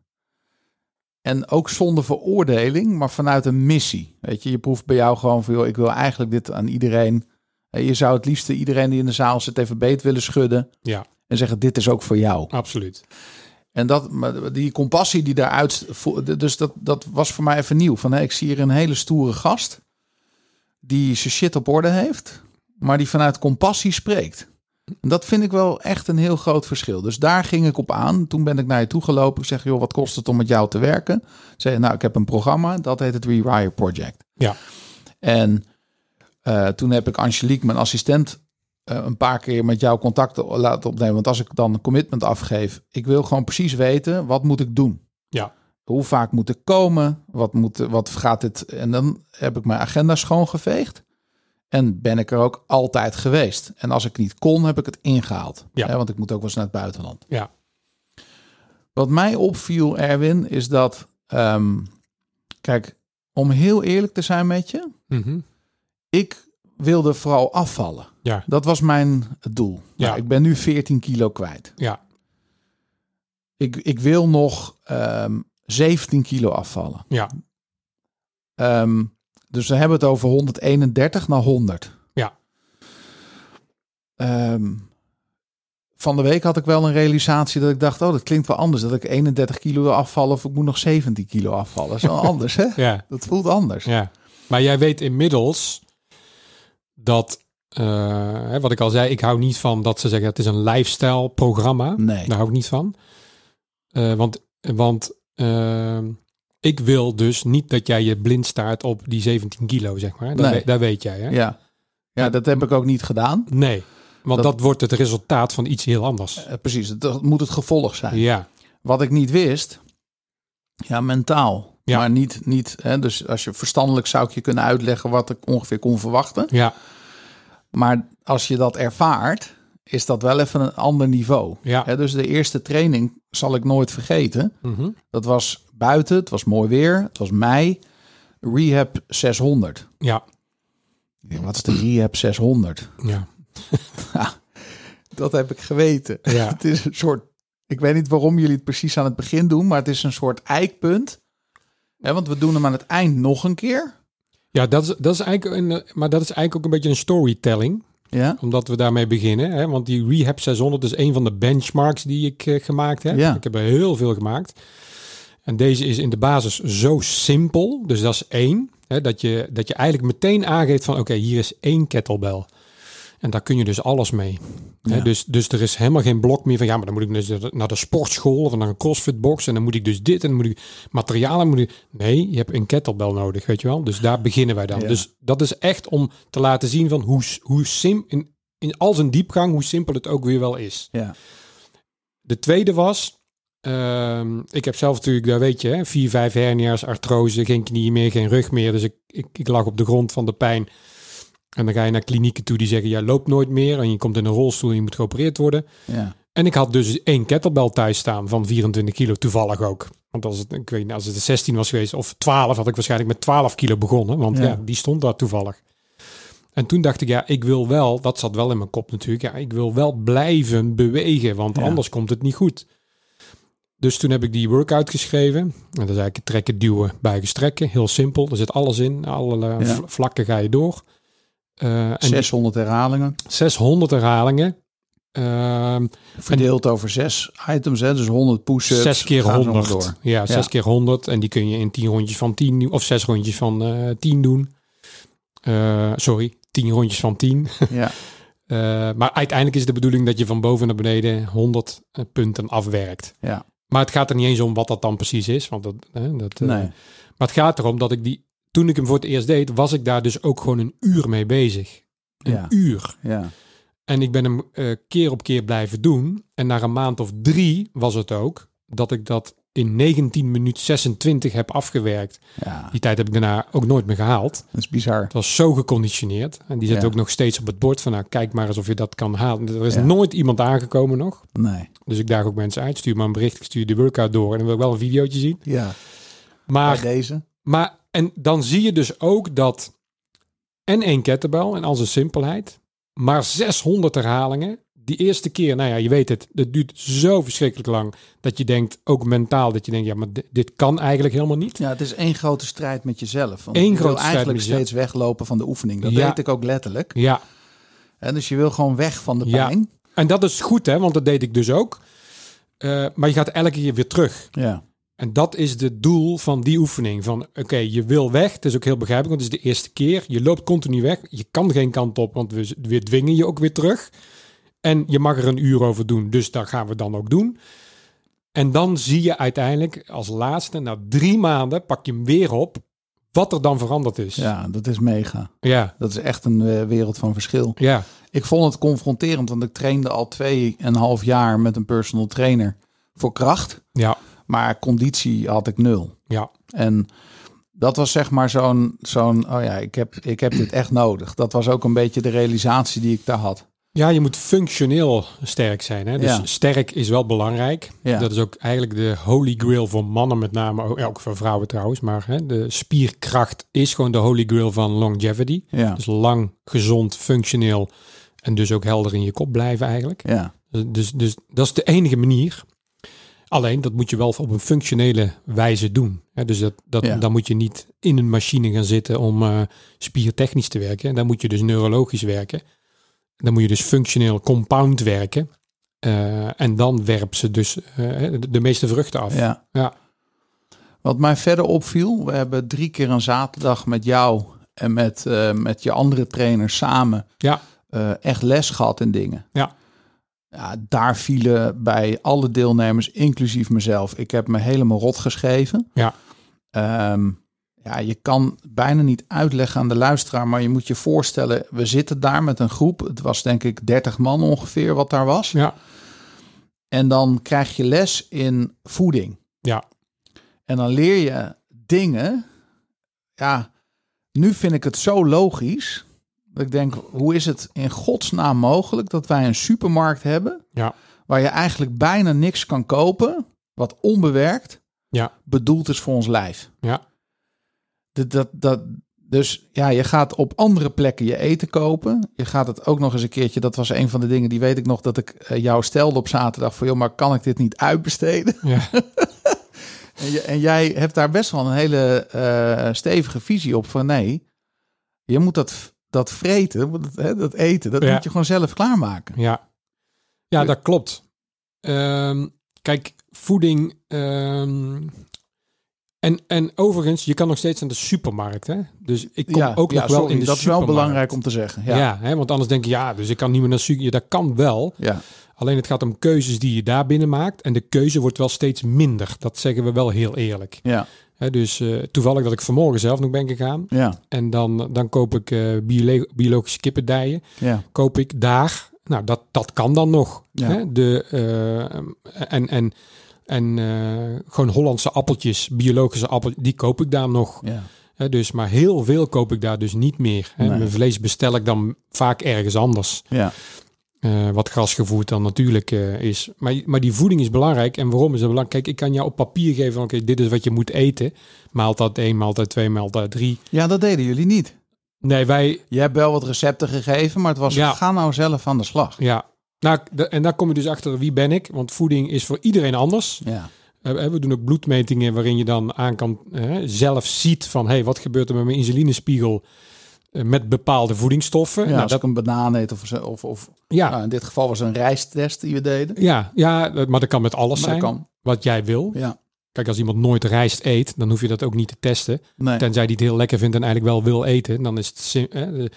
Speaker 1: En ook zonder veroordeling, maar vanuit een missie. Weet je, je proeft bij jou gewoon van, joh, ik wil eigenlijk dit aan iedereen. Eh, Je zou het liefste iedereen die in de zaal zit even beet willen schudden.
Speaker 4: Ja.
Speaker 1: En zeggen, dit is ook voor jou.
Speaker 4: absoluut.
Speaker 1: En dat, maar die compassie die daaruit... vo- Dus dat, dat was voor mij even nieuw. Van, hé, ik zie hier een hele stoere gast... die zijn shit op orde heeft... maar die vanuit compassie spreekt. En dat vind ik wel echt een heel groot verschil. Dus daar ging ik op aan. Toen ben ik naar je toe gelopen. Ik zeg, joh, wat kost het om met jou te werken? Zei, je, nou, ik heb een programma. Dat heet het Rewire Project.
Speaker 4: Ja.
Speaker 1: En eh, toen heb ik Angelique, mijn assistent, eh, een paar keer met jou contact o- laten opnemen. Want als ik dan een commitment afgeef, ik wil gewoon precies weten wat moet ik doen.
Speaker 4: Ja.
Speaker 1: Hoe vaak moet ik komen? Wat, moet, wat gaat dit? En dan heb ik mijn agenda schoongeveegd. En ben ik er ook altijd geweest. En als ik niet kon, heb ik het ingehaald.
Speaker 4: Ja.
Speaker 1: Hè, want ik moet ook wel eens naar het buitenland.
Speaker 4: Ja.
Speaker 1: Wat mij opviel, Erwin, is dat... ehm, kijk, om heel eerlijk te zijn met je
Speaker 4: Mhm.
Speaker 1: ik wilde vooral afvallen.
Speaker 4: Ja.
Speaker 1: Dat was mijn doel.
Speaker 4: Ja.
Speaker 1: Nou, ik ben nu 14 kilo kwijt.
Speaker 4: Ja.
Speaker 1: Ik, ik wil nog ehm, 17 kilo afvallen.
Speaker 4: Ja.
Speaker 1: Ehm, dus we hebben het over 131 naar 100.
Speaker 4: Ja.
Speaker 1: Ehm, van de week had ik wel een realisatie dat ik dacht, oh, dat klinkt wel anders. Dat ik 31 kilo wil afvallen of ik moet nog 17 kilo afvallen. Dat is
Speaker 4: [LAUGHS]
Speaker 1: wel anders, hè?
Speaker 4: Ja,
Speaker 1: Dat voelt anders.
Speaker 4: ja. Maar jij weet inmiddels dat, eh, hè, wat ik al zei, ik hou niet van dat ze zeggen het is een lifestyle programma.
Speaker 1: Nee.
Speaker 4: Daar hou ik niet van. Eh, want want ehm, ik wil dus niet dat jij je blind staart op die 17 kilo, zeg maar. Dat,
Speaker 1: Nee.
Speaker 4: we- dat weet jij, hè?
Speaker 1: Ja. ja, dat heb ik ook niet gedaan.
Speaker 4: Nee, want
Speaker 1: Dat-
Speaker 4: dat... wordt het resultaat van iets heel anders.
Speaker 1: Eh, precies, dat- dat moet het gevolg zijn.
Speaker 4: Ja,
Speaker 1: Wat ik niet wist, ja, mentaal.
Speaker 4: Ja.
Speaker 1: Maar niet, niet hè, dus als je verstandelijk zou ik je kunnen uitleggen wat ik ongeveer kon verwachten.
Speaker 4: ja,
Speaker 1: Maar als je dat ervaart, is dat wel even een ander niveau.
Speaker 4: ja.
Speaker 1: Hè, dus de eerste training zal ik nooit vergeten.
Speaker 4: Mhm.
Speaker 1: Dat was buiten, het was mooi weer, het was mei. Rehab 600.
Speaker 4: Ja,
Speaker 1: Ik denk, Wat is de Rehab 600?
Speaker 4: ja,
Speaker 1: Dat heb ik geweten.
Speaker 4: ja.
Speaker 1: [LAUGHS] Het is een soort. Ik weet niet waarom jullie het precies aan het begin doen, maar het is een soort eikpunt. Hè, want we doen hem aan het eind nog een keer.
Speaker 4: Ja, dat is, dat is eigenlijk een, eh, maar dat is eigenlijk ook een beetje een storytelling,
Speaker 1: Ja.
Speaker 4: omdat we daarmee beginnen. Hè? Want die Rehab 600 is een van de benchmarks die ik eh, gemaakt heb.
Speaker 1: Ja.
Speaker 4: Ik heb er heel veel gemaakt. En deze is in de basis zo simpel, dus dat is één. Hè? Dat, je, dat je eigenlijk meteen aangeeft van, oké, hier is één kettlebell. En daar kun je dus alles mee. Hè?
Speaker 1: Ja.
Speaker 4: Dus, dus er is helemaal geen blok meer van, ja, maar dan moet ik dus naar de- naar de sportschool of naar een crossfitbox. En dan moet ik dus dit en dan moet ik materialen moet ik... Nee, je hebt een kettlebell nodig, weet je wel. Dus daar beginnen wij dan.
Speaker 1: Ja.
Speaker 4: Dus dat is echt om te laten zien van hoe, hoe sim, in in al zijn diepgang, hoe simpel het ook weer wel is.
Speaker 1: Ja.
Speaker 4: De tweede was, ehm, ik heb zelf natuurlijk, dat weet je, hè, vier, vijf hernia's, artrose, geen knieën meer, geen rug meer. Dus ik, ik, ik lag op de grond van de pijn. En dan ga je naar klinieken toe die zeggen, jij loopt nooit meer. En je komt in een rolstoel en je moet geopereerd worden.
Speaker 1: ja.
Speaker 4: En ik had dus één kettlebell thuis staan van 24 kilo, toevallig ook. Want als het, ik weet niet, als het de 16 was geweest of 12, had ik waarschijnlijk met 12 kilo begonnen. Want ja,
Speaker 1: Ja.
Speaker 4: die stond daar toevallig. En toen dacht ik, ja, ik wil wel, dat zat wel in mijn kop natuurlijk, ja, ik wil wel blijven bewegen, want
Speaker 1: Ja.
Speaker 4: anders komt het niet goed. Dus toen heb ik die workout geschreven. En dat is eigenlijk het trekken, duwen, buigen, strekken. Heel simpel, er zit alles in. Alle eh,
Speaker 1: Ja.
Speaker 4: vlakken ga je door. Eh, en die
Speaker 1: 600 herhalingen.
Speaker 4: 600 herhalingen. Ehm,
Speaker 1: Verdeeld over zes items, hè? dus 100 push-ups.
Speaker 4: Zes keer
Speaker 1: Gaan ze nog
Speaker 4: honderd. Ja, zes keer honderd. En die kun je in tien rondjes van tien doen- of zes rondjes van eh tien doen. Eh, sorry, tien rondjes van tien.
Speaker 1: door. Ja.
Speaker 4: Eh, maar uiteindelijk is de bedoeling dat je van boven naar beneden 100 punten afwerkt.
Speaker 1: Ja.
Speaker 4: Maar het gaat er niet eens om wat dat dan precies is. Want dat, hè, dat,
Speaker 1: [LAUGHS]
Speaker 4: eh,
Speaker 1: Nee.
Speaker 4: Maar het gaat erom dat ik die. Toen ik hem voor het eerst deed, was ik daar dus ook gewoon een uur mee bezig. Een
Speaker 1: Ja.
Speaker 4: uur.
Speaker 1: Ja.
Speaker 4: En ik ben hem eh, keer op keer blijven doen. En na een maand of drie was het ook dat ik dat in 19 minuten 26 heb afgewerkt.
Speaker 1: ja,
Speaker 4: Die tijd heb ik daarna ook nooit meer gehaald.
Speaker 1: dat is bizar.
Speaker 4: Het was zo geconditioneerd. En die zit
Speaker 1: Ja.
Speaker 4: ook nog steeds op het bord van, nou, kijk maar eens of je dat kan halen. Er is
Speaker 1: Ja.
Speaker 4: nooit iemand aangekomen nog.
Speaker 1: Nee.
Speaker 4: Dus ik daag ook mensen uit. Stuur maar een bericht, ik stuur de workout door. En dan wil ik wel een videootje zien.
Speaker 1: Ja,
Speaker 4: Maar
Speaker 1: bij deze.
Speaker 4: maar en dan zie je dus ook dat en één kettlebell en al zijn simpelheid, maar 600 herhalingen. Die eerste keer, nou ja, je weet het, dat duurt zo verschrikkelijk lang dat je denkt, ook mentaal, dat je denkt, ja, maar dit, dit kan eigenlijk helemaal niet.
Speaker 1: Ja, het is één grote strijd met jezelf. Want
Speaker 4: Eén
Speaker 1: je wil
Speaker 4: grote strijd
Speaker 1: eigenlijk
Speaker 4: met jezelf.
Speaker 1: steeds weglopen van de oefening. Dat
Speaker 4: Ja.
Speaker 1: weet ik ook letterlijk.
Speaker 4: Ja,
Speaker 1: En dus je wil gewoon weg van de
Speaker 4: Ja.
Speaker 1: pijn.
Speaker 4: en dat is goed, hè, want dat deed ik dus ook. Eh, maar je gaat elke keer weer terug.
Speaker 1: Ja.
Speaker 4: En dat is het doel van die oefening. Van oké, je wil weg. Het is ook heel begrijpelijk, want het is de eerste keer. Je loopt continu weg. Je kan geen kant op, want we, we dwingen je ook weer terug. En je mag er een uur over doen. Dus dat gaan we dan ook doen. En dan zie je uiteindelijk als laatste, na drie maanden, pak je hem weer op. Wat er dan veranderd is.
Speaker 1: ja, dat is mega.
Speaker 4: ja.
Speaker 1: Dat is echt een eh, wereld van verschil.
Speaker 4: ja.
Speaker 1: Ik vond het confronterend, want ik trainde al twee en een half jaar met een personal trainer voor kracht.
Speaker 4: ja.
Speaker 1: Maar conditie had ik nul.
Speaker 4: ja.
Speaker 1: En dat was zeg maar zo'n, zo'n oh ja, ik heb, ik heb dit echt nodig. Dat was ook een beetje de realisatie die ik daar had.
Speaker 4: Ja, je moet functioneel sterk zijn. Hè? Dus
Speaker 1: Ja.
Speaker 4: sterk is wel belangrijk.
Speaker 1: Ja.
Speaker 4: Dat is ook eigenlijk de holy grail voor mannen met name. Ook, ja, ook voor vrouwen trouwens. Maar hè, de spierkracht is gewoon de holy grail van longevity.
Speaker 1: Ja,
Speaker 4: Dus lang, gezond, functioneel. En dus ook helder in je kop blijven eigenlijk.
Speaker 1: ja,
Speaker 4: Dus, dus dat is de enige manier. Alleen dat moet je wel op een functionele wijze doen. Hè, dus dat, dat,
Speaker 1: Ja.
Speaker 4: dan moet je niet in een machine gaan zitten om eh, spiertechnisch te werken. Dan moet je dus neurologisch werken. Dan moet je dus functioneel compound werken. Eh, en dan werpt ze dus eh, de- de meeste vruchten af.
Speaker 1: ja.
Speaker 4: Ja.
Speaker 1: Wat mij verder opviel, we hebben drie keer een zaterdag met jou en met, eh, met je andere trainer samen
Speaker 4: Ja.
Speaker 1: eh, echt les gehad in dingen.
Speaker 4: Ja.
Speaker 1: Ja, daar vielen bij alle deelnemers, inclusief mezelf, ik heb me helemaal rot geschreven.
Speaker 4: Ja.
Speaker 1: Ehm, ja, je kan bijna niet uitleggen aan de luisteraar, maar je moet je voorstellen, we zitten daar met een groep. Het was denk ik 30 man ongeveer wat daar was.
Speaker 4: Ja.
Speaker 1: En dan krijg je les in voeding.
Speaker 4: Ja.
Speaker 1: En dan leer je dingen. Ja, nu vind ik het zo logisch. Dat ik denk, hoe is het in godsnaam mogelijk dat wij een supermarkt hebben
Speaker 4: Ja.
Speaker 1: waar je eigenlijk bijna niks kan kopen wat onbewerkt
Speaker 4: Ja.
Speaker 1: bedoeld is voor ons lijf.
Speaker 4: Ja.
Speaker 1: Dat, dat, dat, dus ja, je gaat op andere plekken je eten kopen. Je gaat het ook nog eens een keertje. Dat was een van de dingen die weet ik nog dat ik eh, jou stelde op zaterdag. Van joh, maar kan ik dit niet uitbesteden? [LAUGHS]
Speaker 4: Ja.
Speaker 1: En, je- en jij hebt daar best wel een hele eh, stevige visie op van nee, je moet dat, dat vreten, want dat, hè, dat eten, dat
Speaker 4: Ja.
Speaker 1: moet je gewoon zelf klaarmaken.
Speaker 4: Ja, ja dat klopt. Ehm, kijk, voeding. ehm, en, en overigens, je kan nog steeds naar de supermarkt. Hè? Dus ik kom ook nog wel
Speaker 1: sorry,
Speaker 4: in de supermarkt.
Speaker 1: Dat is wel belangrijk om te zeggen.
Speaker 4: Ja,
Speaker 1: Ja,
Speaker 4: hè, want anders denk je, ja, dus ik kan niet meer naar de supermarkt. Ja, dat kan wel.
Speaker 1: ja.
Speaker 4: Alleen het gaat om keuzes die je daar binnen maakt. En de keuze wordt wel steeds minder. Dat zeggen we wel heel eerlijk.
Speaker 1: Ja,
Speaker 4: Hè, dus eh, toevallig dat ik vanmorgen zelf nog ben gegaan.
Speaker 1: ja,
Speaker 4: En dan, dan koop ik eh, biolo- biologische kippendijen.
Speaker 1: ja.
Speaker 4: Koop ik daar. Nou, dat, dat kan dan nog.
Speaker 1: Ja.
Speaker 4: Hè? De, eh, en en, en eh, gewoon Hollandse appeltjes, biologische appeltjes, die koop ik daar nog.
Speaker 1: ja.
Speaker 4: Hè, dus, maar heel veel koop ik daar dus niet meer. Hè.
Speaker 1: Nee.
Speaker 4: Mijn vlees bestel ik dan vaak ergens anders.
Speaker 1: ja.
Speaker 4: Eh, wat grasgevoerd dan natuurlijk eh, is. Maar, maar die voeding is belangrijk. En waarom is dat belangrijk? Kijk, ik kan jou op papier geven van... oké, dit is wat je moet eten. Maaltijd 1, maaltijd 2, maaltijd 3.
Speaker 1: Ja, dat deden jullie niet.
Speaker 4: Nee, wij...
Speaker 1: Je hebt wel wat recepten gegeven, maar het was
Speaker 4: Ja.
Speaker 1: ga nou zelf aan de slag.
Speaker 4: Ja. Nou, de- en daar kom je dus achter wie ben ik. Want voeding is voor iedereen anders.
Speaker 1: Ja,
Speaker 4: Eh, We doen ook bloedmetingen waarin je dan aan kan eh, zelf ziet van... hé, hey, wat gebeurt er met mijn insulinespiegel eh, met bepaalde voedingsstoffen?
Speaker 1: ja
Speaker 4: Nou,
Speaker 1: als
Speaker 4: dat,
Speaker 1: ik een banaan eet of, zo- of, of
Speaker 4: ja,
Speaker 1: nou, in dit geval was het een rijsttest die we deden.
Speaker 4: Ja, ja, eh, maar dat kan met alles
Speaker 1: Maar dat
Speaker 4: zijn.
Speaker 1: kan.
Speaker 4: Wat jij wil.
Speaker 1: Ja,
Speaker 4: Kijk, als iemand nooit rijst eet, dan hoef je dat ook niet te testen.
Speaker 1: nee.
Speaker 4: Tenzij die het heel lekker vindt en eigenlijk wel wil eten. Dan is het. sim- hè, de-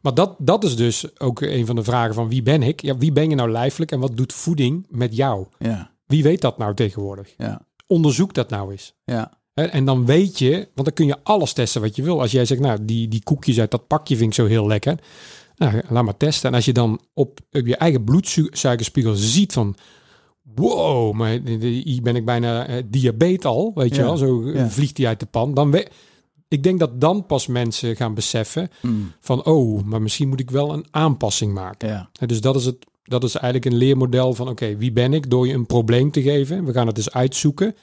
Speaker 4: Maar dat, dat is dus ook een van de vragen van wie ben ik? Ja, wie ben je nou lijfelijk en wat doet voeding met jou?
Speaker 1: Ja,
Speaker 4: Wie weet dat nou tegenwoordig?
Speaker 1: ja,
Speaker 4: Onderzoek dat nou eens.
Speaker 1: ja,
Speaker 4: Hè, En dan weet je, want dan kun je alles testen wat je wil. Als jij zegt, nou, die, die koekjes uit dat pakje vind ik zo heel lekker. Nou, laat maar testen. En als je dan op, op je eigen bloedsuikerspiegel ziet van... Wow, maar de- de- hier ben ik bijna eh, diabetes al, weet je
Speaker 1: Ja,
Speaker 4: wel. Zo eh,
Speaker 1: ja.
Speaker 4: vliegt die uit de pan. Dan we, ik denk dat dan pas mensen gaan beseffen
Speaker 1: Mm,
Speaker 4: van... Oh, maar misschien moet ik wel een aanpassing maken.
Speaker 1: ja,
Speaker 4: Hè, Dus dat is, het, dat is eigenlijk een leermodel van: oké, wie ben ik? Door je een probleem te geven. We gaan het eens uitzoeken.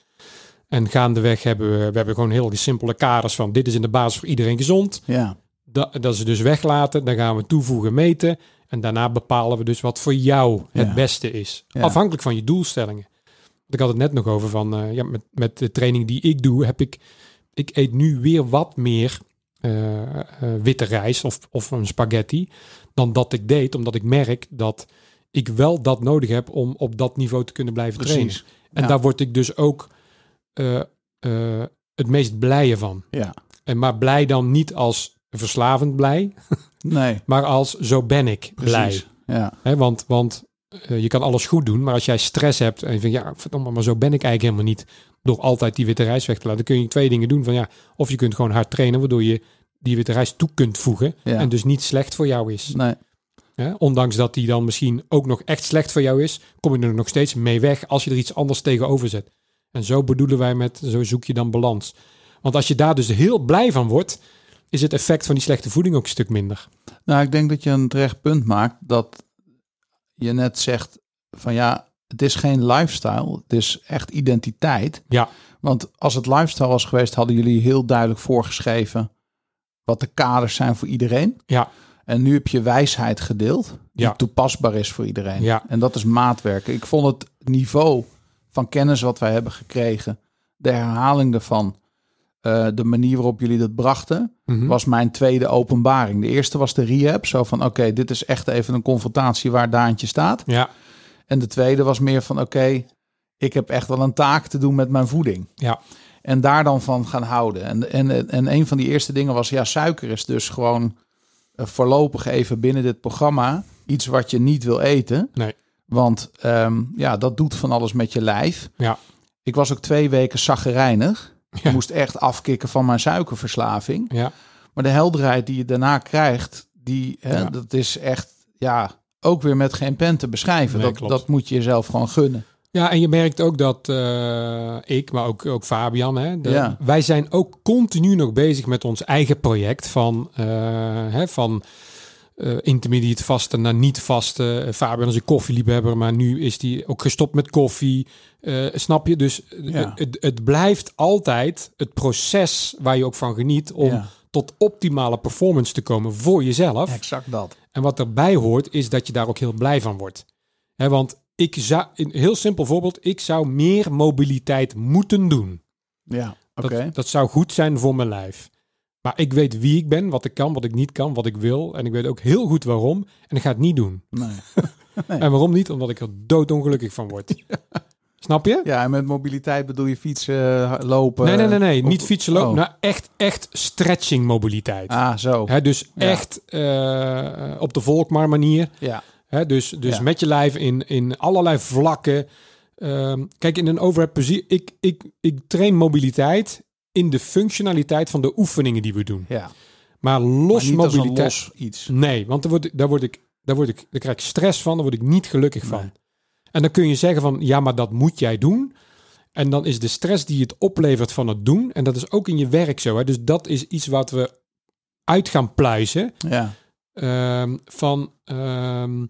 Speaker 4: En gaandeweg hebben we, we hebben gewoon heel simpele kaders van: dit is in de basis voor iedereen gezond.
Speaker 1: ja,
Speaker 4: Dat, dat ze dus weglaten. Dan gaan we toevoegen, meten. En daarna bepalen we dus wat voor jou het
Speaker 1: Ja.
Speaker 4: beste is.
Speaker 1: Ja.
Speaker 4: Afhankelijk van je doelstellingen. Want Ik had het net nog over van: eh, ja, met, met de training die ik doe, heb ik. Ik eet nu weer wat meer eh, eh, witte rijst of, of een spaghetti dan dat ik deed, omdat ik merk dat ik wel dat nodig heb om op dat niveau te kunnen blijven trainen.
Speaker 1: precies.
Speaker 4: En
Speaker 1: ja.
Speaker 4: daar word ik dus ook eh, eh, het meest blije van.
Speaker 1: Ja,
Speaker 4: En maar blij dan niet als verslavend blij,
Speaker 1: nee,
Speaker 4: maar als zo ben ik blij.
Speaker 1: precies. Ja,
Speaker 4: Hè, want want eh, je kan alles goed doen, maar als jij stress hebt en je vindt, ja, verdomme, maar zo ben ik eigenlijk helemaal niet. Door altijd die witte rijst weg te laten, kun je twee dingen doen. Van, ja, of je kunt gewoon hard trainen, waardoor je die witte rijst toe kunt voegen.
Speaker 1: Ja.
Speaker 4: En dus niet slecht voor jou is.
Speaker 1: nee,
Speaker 4: Hè? Ondanks dat die dan misschien ook nog echt slecht voor jou is, kom je er nog steeds mee weg als je er iets anders tegenover zet. En zo bedoelen wij met, zo zoek je dan balans. Want als je daar dus heel blij van wordt, is het effect van die slechte voeding ook een stuk minder.
Speaker 1: Nou, ik denk dat je een terecht punt maakt dat je net zegt van ja, het is geen lifestyle, het is echt identiteit.
Speaker 4: Ja.
Speaker 1: Want als het lifestyle was geweest, hadden jullie heel duidelijk voorgeschreven wat de kaders zijn voor iedereen.
Speaker 4: Ja.
Speaker 1: En nu heb je wijsheid gedeeld die
Speaker 4: Ja.
Speaker 1: toepasbaar is voor iedereen.
Speaker 4: Ja.
Speaker 1: En dat is maatwerken. Ik vond het niveau van kennis wat wij hebben gekregen, de herhaling daarvan, eh, de manier waarop jullie dat brachten,
Speaker 4: Mhm. Hm.
Speaker 1: was mijn tweede openbaring. De eerste was de rehab. Zo van, oké, dit is echt even een confrontatie waar Daantje staat.
Speaker 4: Ja,
Speaker 1: En de tweede was meer van, oké, ik heb echt wel een taak te doen met mijn voeding.
Speaker 4: ja,
Speaker 1: En daar dan van gaan houden. En, en, en een van die eerste dingen was, ja, suiker is dus gewoon eh, voorlopig even binnen dit programma iets wat je niet wil eten.
Speaker 4: Nee.
Speaker 1: Want ehm, ja, dat doet van alles met je lijf.
Speaker 4: Ja.
Speaker 1: Ik was ook twee weken zaggerijnig.
Speaker 4: Ja.
Speaker 1: Ik moest echt afkicken van mijn suikerverslaving.
Speaker 4: ja,
Speaker 1: Maar de helderheid die je daarna krijgt, die, hè,
Speaker 4: Ja.
Speaker 1: dat is echt, ja, ook weer met geen pen te beschrijven.
Speaker 4: Nee,
Speaker 1: dat,
Speaker 4: klopt.
Speaker 1: dat moet je jezelf gewoon gunnen.
Speaker 4: ja. En je merkt ook dat eh, ik, maar ook, ook Fabian, hè, de-
Speaker 1: Ja.
Speaker 4: wij zijn ook continu nog bezig met ons eigen project van, eh, hè, van eh, intermediate vasten naar niet vasten. Eh, Fabian is een koffieliefhebber, maar nu is hij ook gestopt met koffie. Eh, snap je? Dus eh,
Speaker 1: Ja.
Speaker 4: het, het blijft altijd het proces waar je ook van geniet om
Speaker 1: Ja.
Speaker 4: tot optimale performance te komen voor jezelf.
Speaker 1: Exact dat.
Speaker 4: En wat erbij hoort, is dat je daar ook heel blij van wordt. Hè, want ik zou, een heel simpel voorbeeld, ik zou meer mobiliteit moeten doen.
Speaker 1: Ja, oké.
Speaker 4: Dat, dat zou goed zijn voor mijn lijf. Maar ik weet wie ik ben, wat ik kan, wat ik niet kan, wat ik wil. En ik weet ook heel goed waarom. En ik ga het niet doen.
Speaker 1: Nee.
Speaker 4: En waarom niet? Omdat ik er doodongelukkig van
Speaker 1: [LAUGHS]
Speaker 4: word. Snap je?
Speaker 1: Ja, en met mobiliteit bedoel je fietsen, ha- lopen.
Speaker 4: nee, nee, nee, nee.
Speaker 1: Of-
Speaker 4: Niet fietsen lopen.
Speaker 1: eh, Oh.
Speaker 4: Nou, echt, echt stretching mobiliteit.
Speaker 1: Ah, zo.
Speaker 4: Hè, dus
Speaker 1: Ja.
Speaker 4: echt eh, op de volkmar manier.
Speaker 1: Ja,
Speaker 4: Hè, dus dus
Speaker 1: Ja.
Speaker 4: met je lijf in, in allerlei vlakken. Ehm, kijk, in een overhead positie, ik, ik, ik train mobiliteit in de functionaliteit van de oefeningen die we doen.
Speaker 1: Ja.
Speaker 4: Maar los
Speaker 1: Los niet als een
Speaker 4: mobiliteit.
Speaker 1: los iets.
Speaker 4: Nee, want daar word, daar, word ik, daar, word ik, daar krijg ik stress van, daar word ik niet gelukkig van. En dan kun je zeggen van, ja, maar dat moet jij doen. En dan is de stress die het oplevert van het doen, en dat is ook in je werk zo. Hè? Dus dat is iets wat we uit gaan pluizen.
Speaker 1: Ja.
Speaker 4: ehm, van, ehm,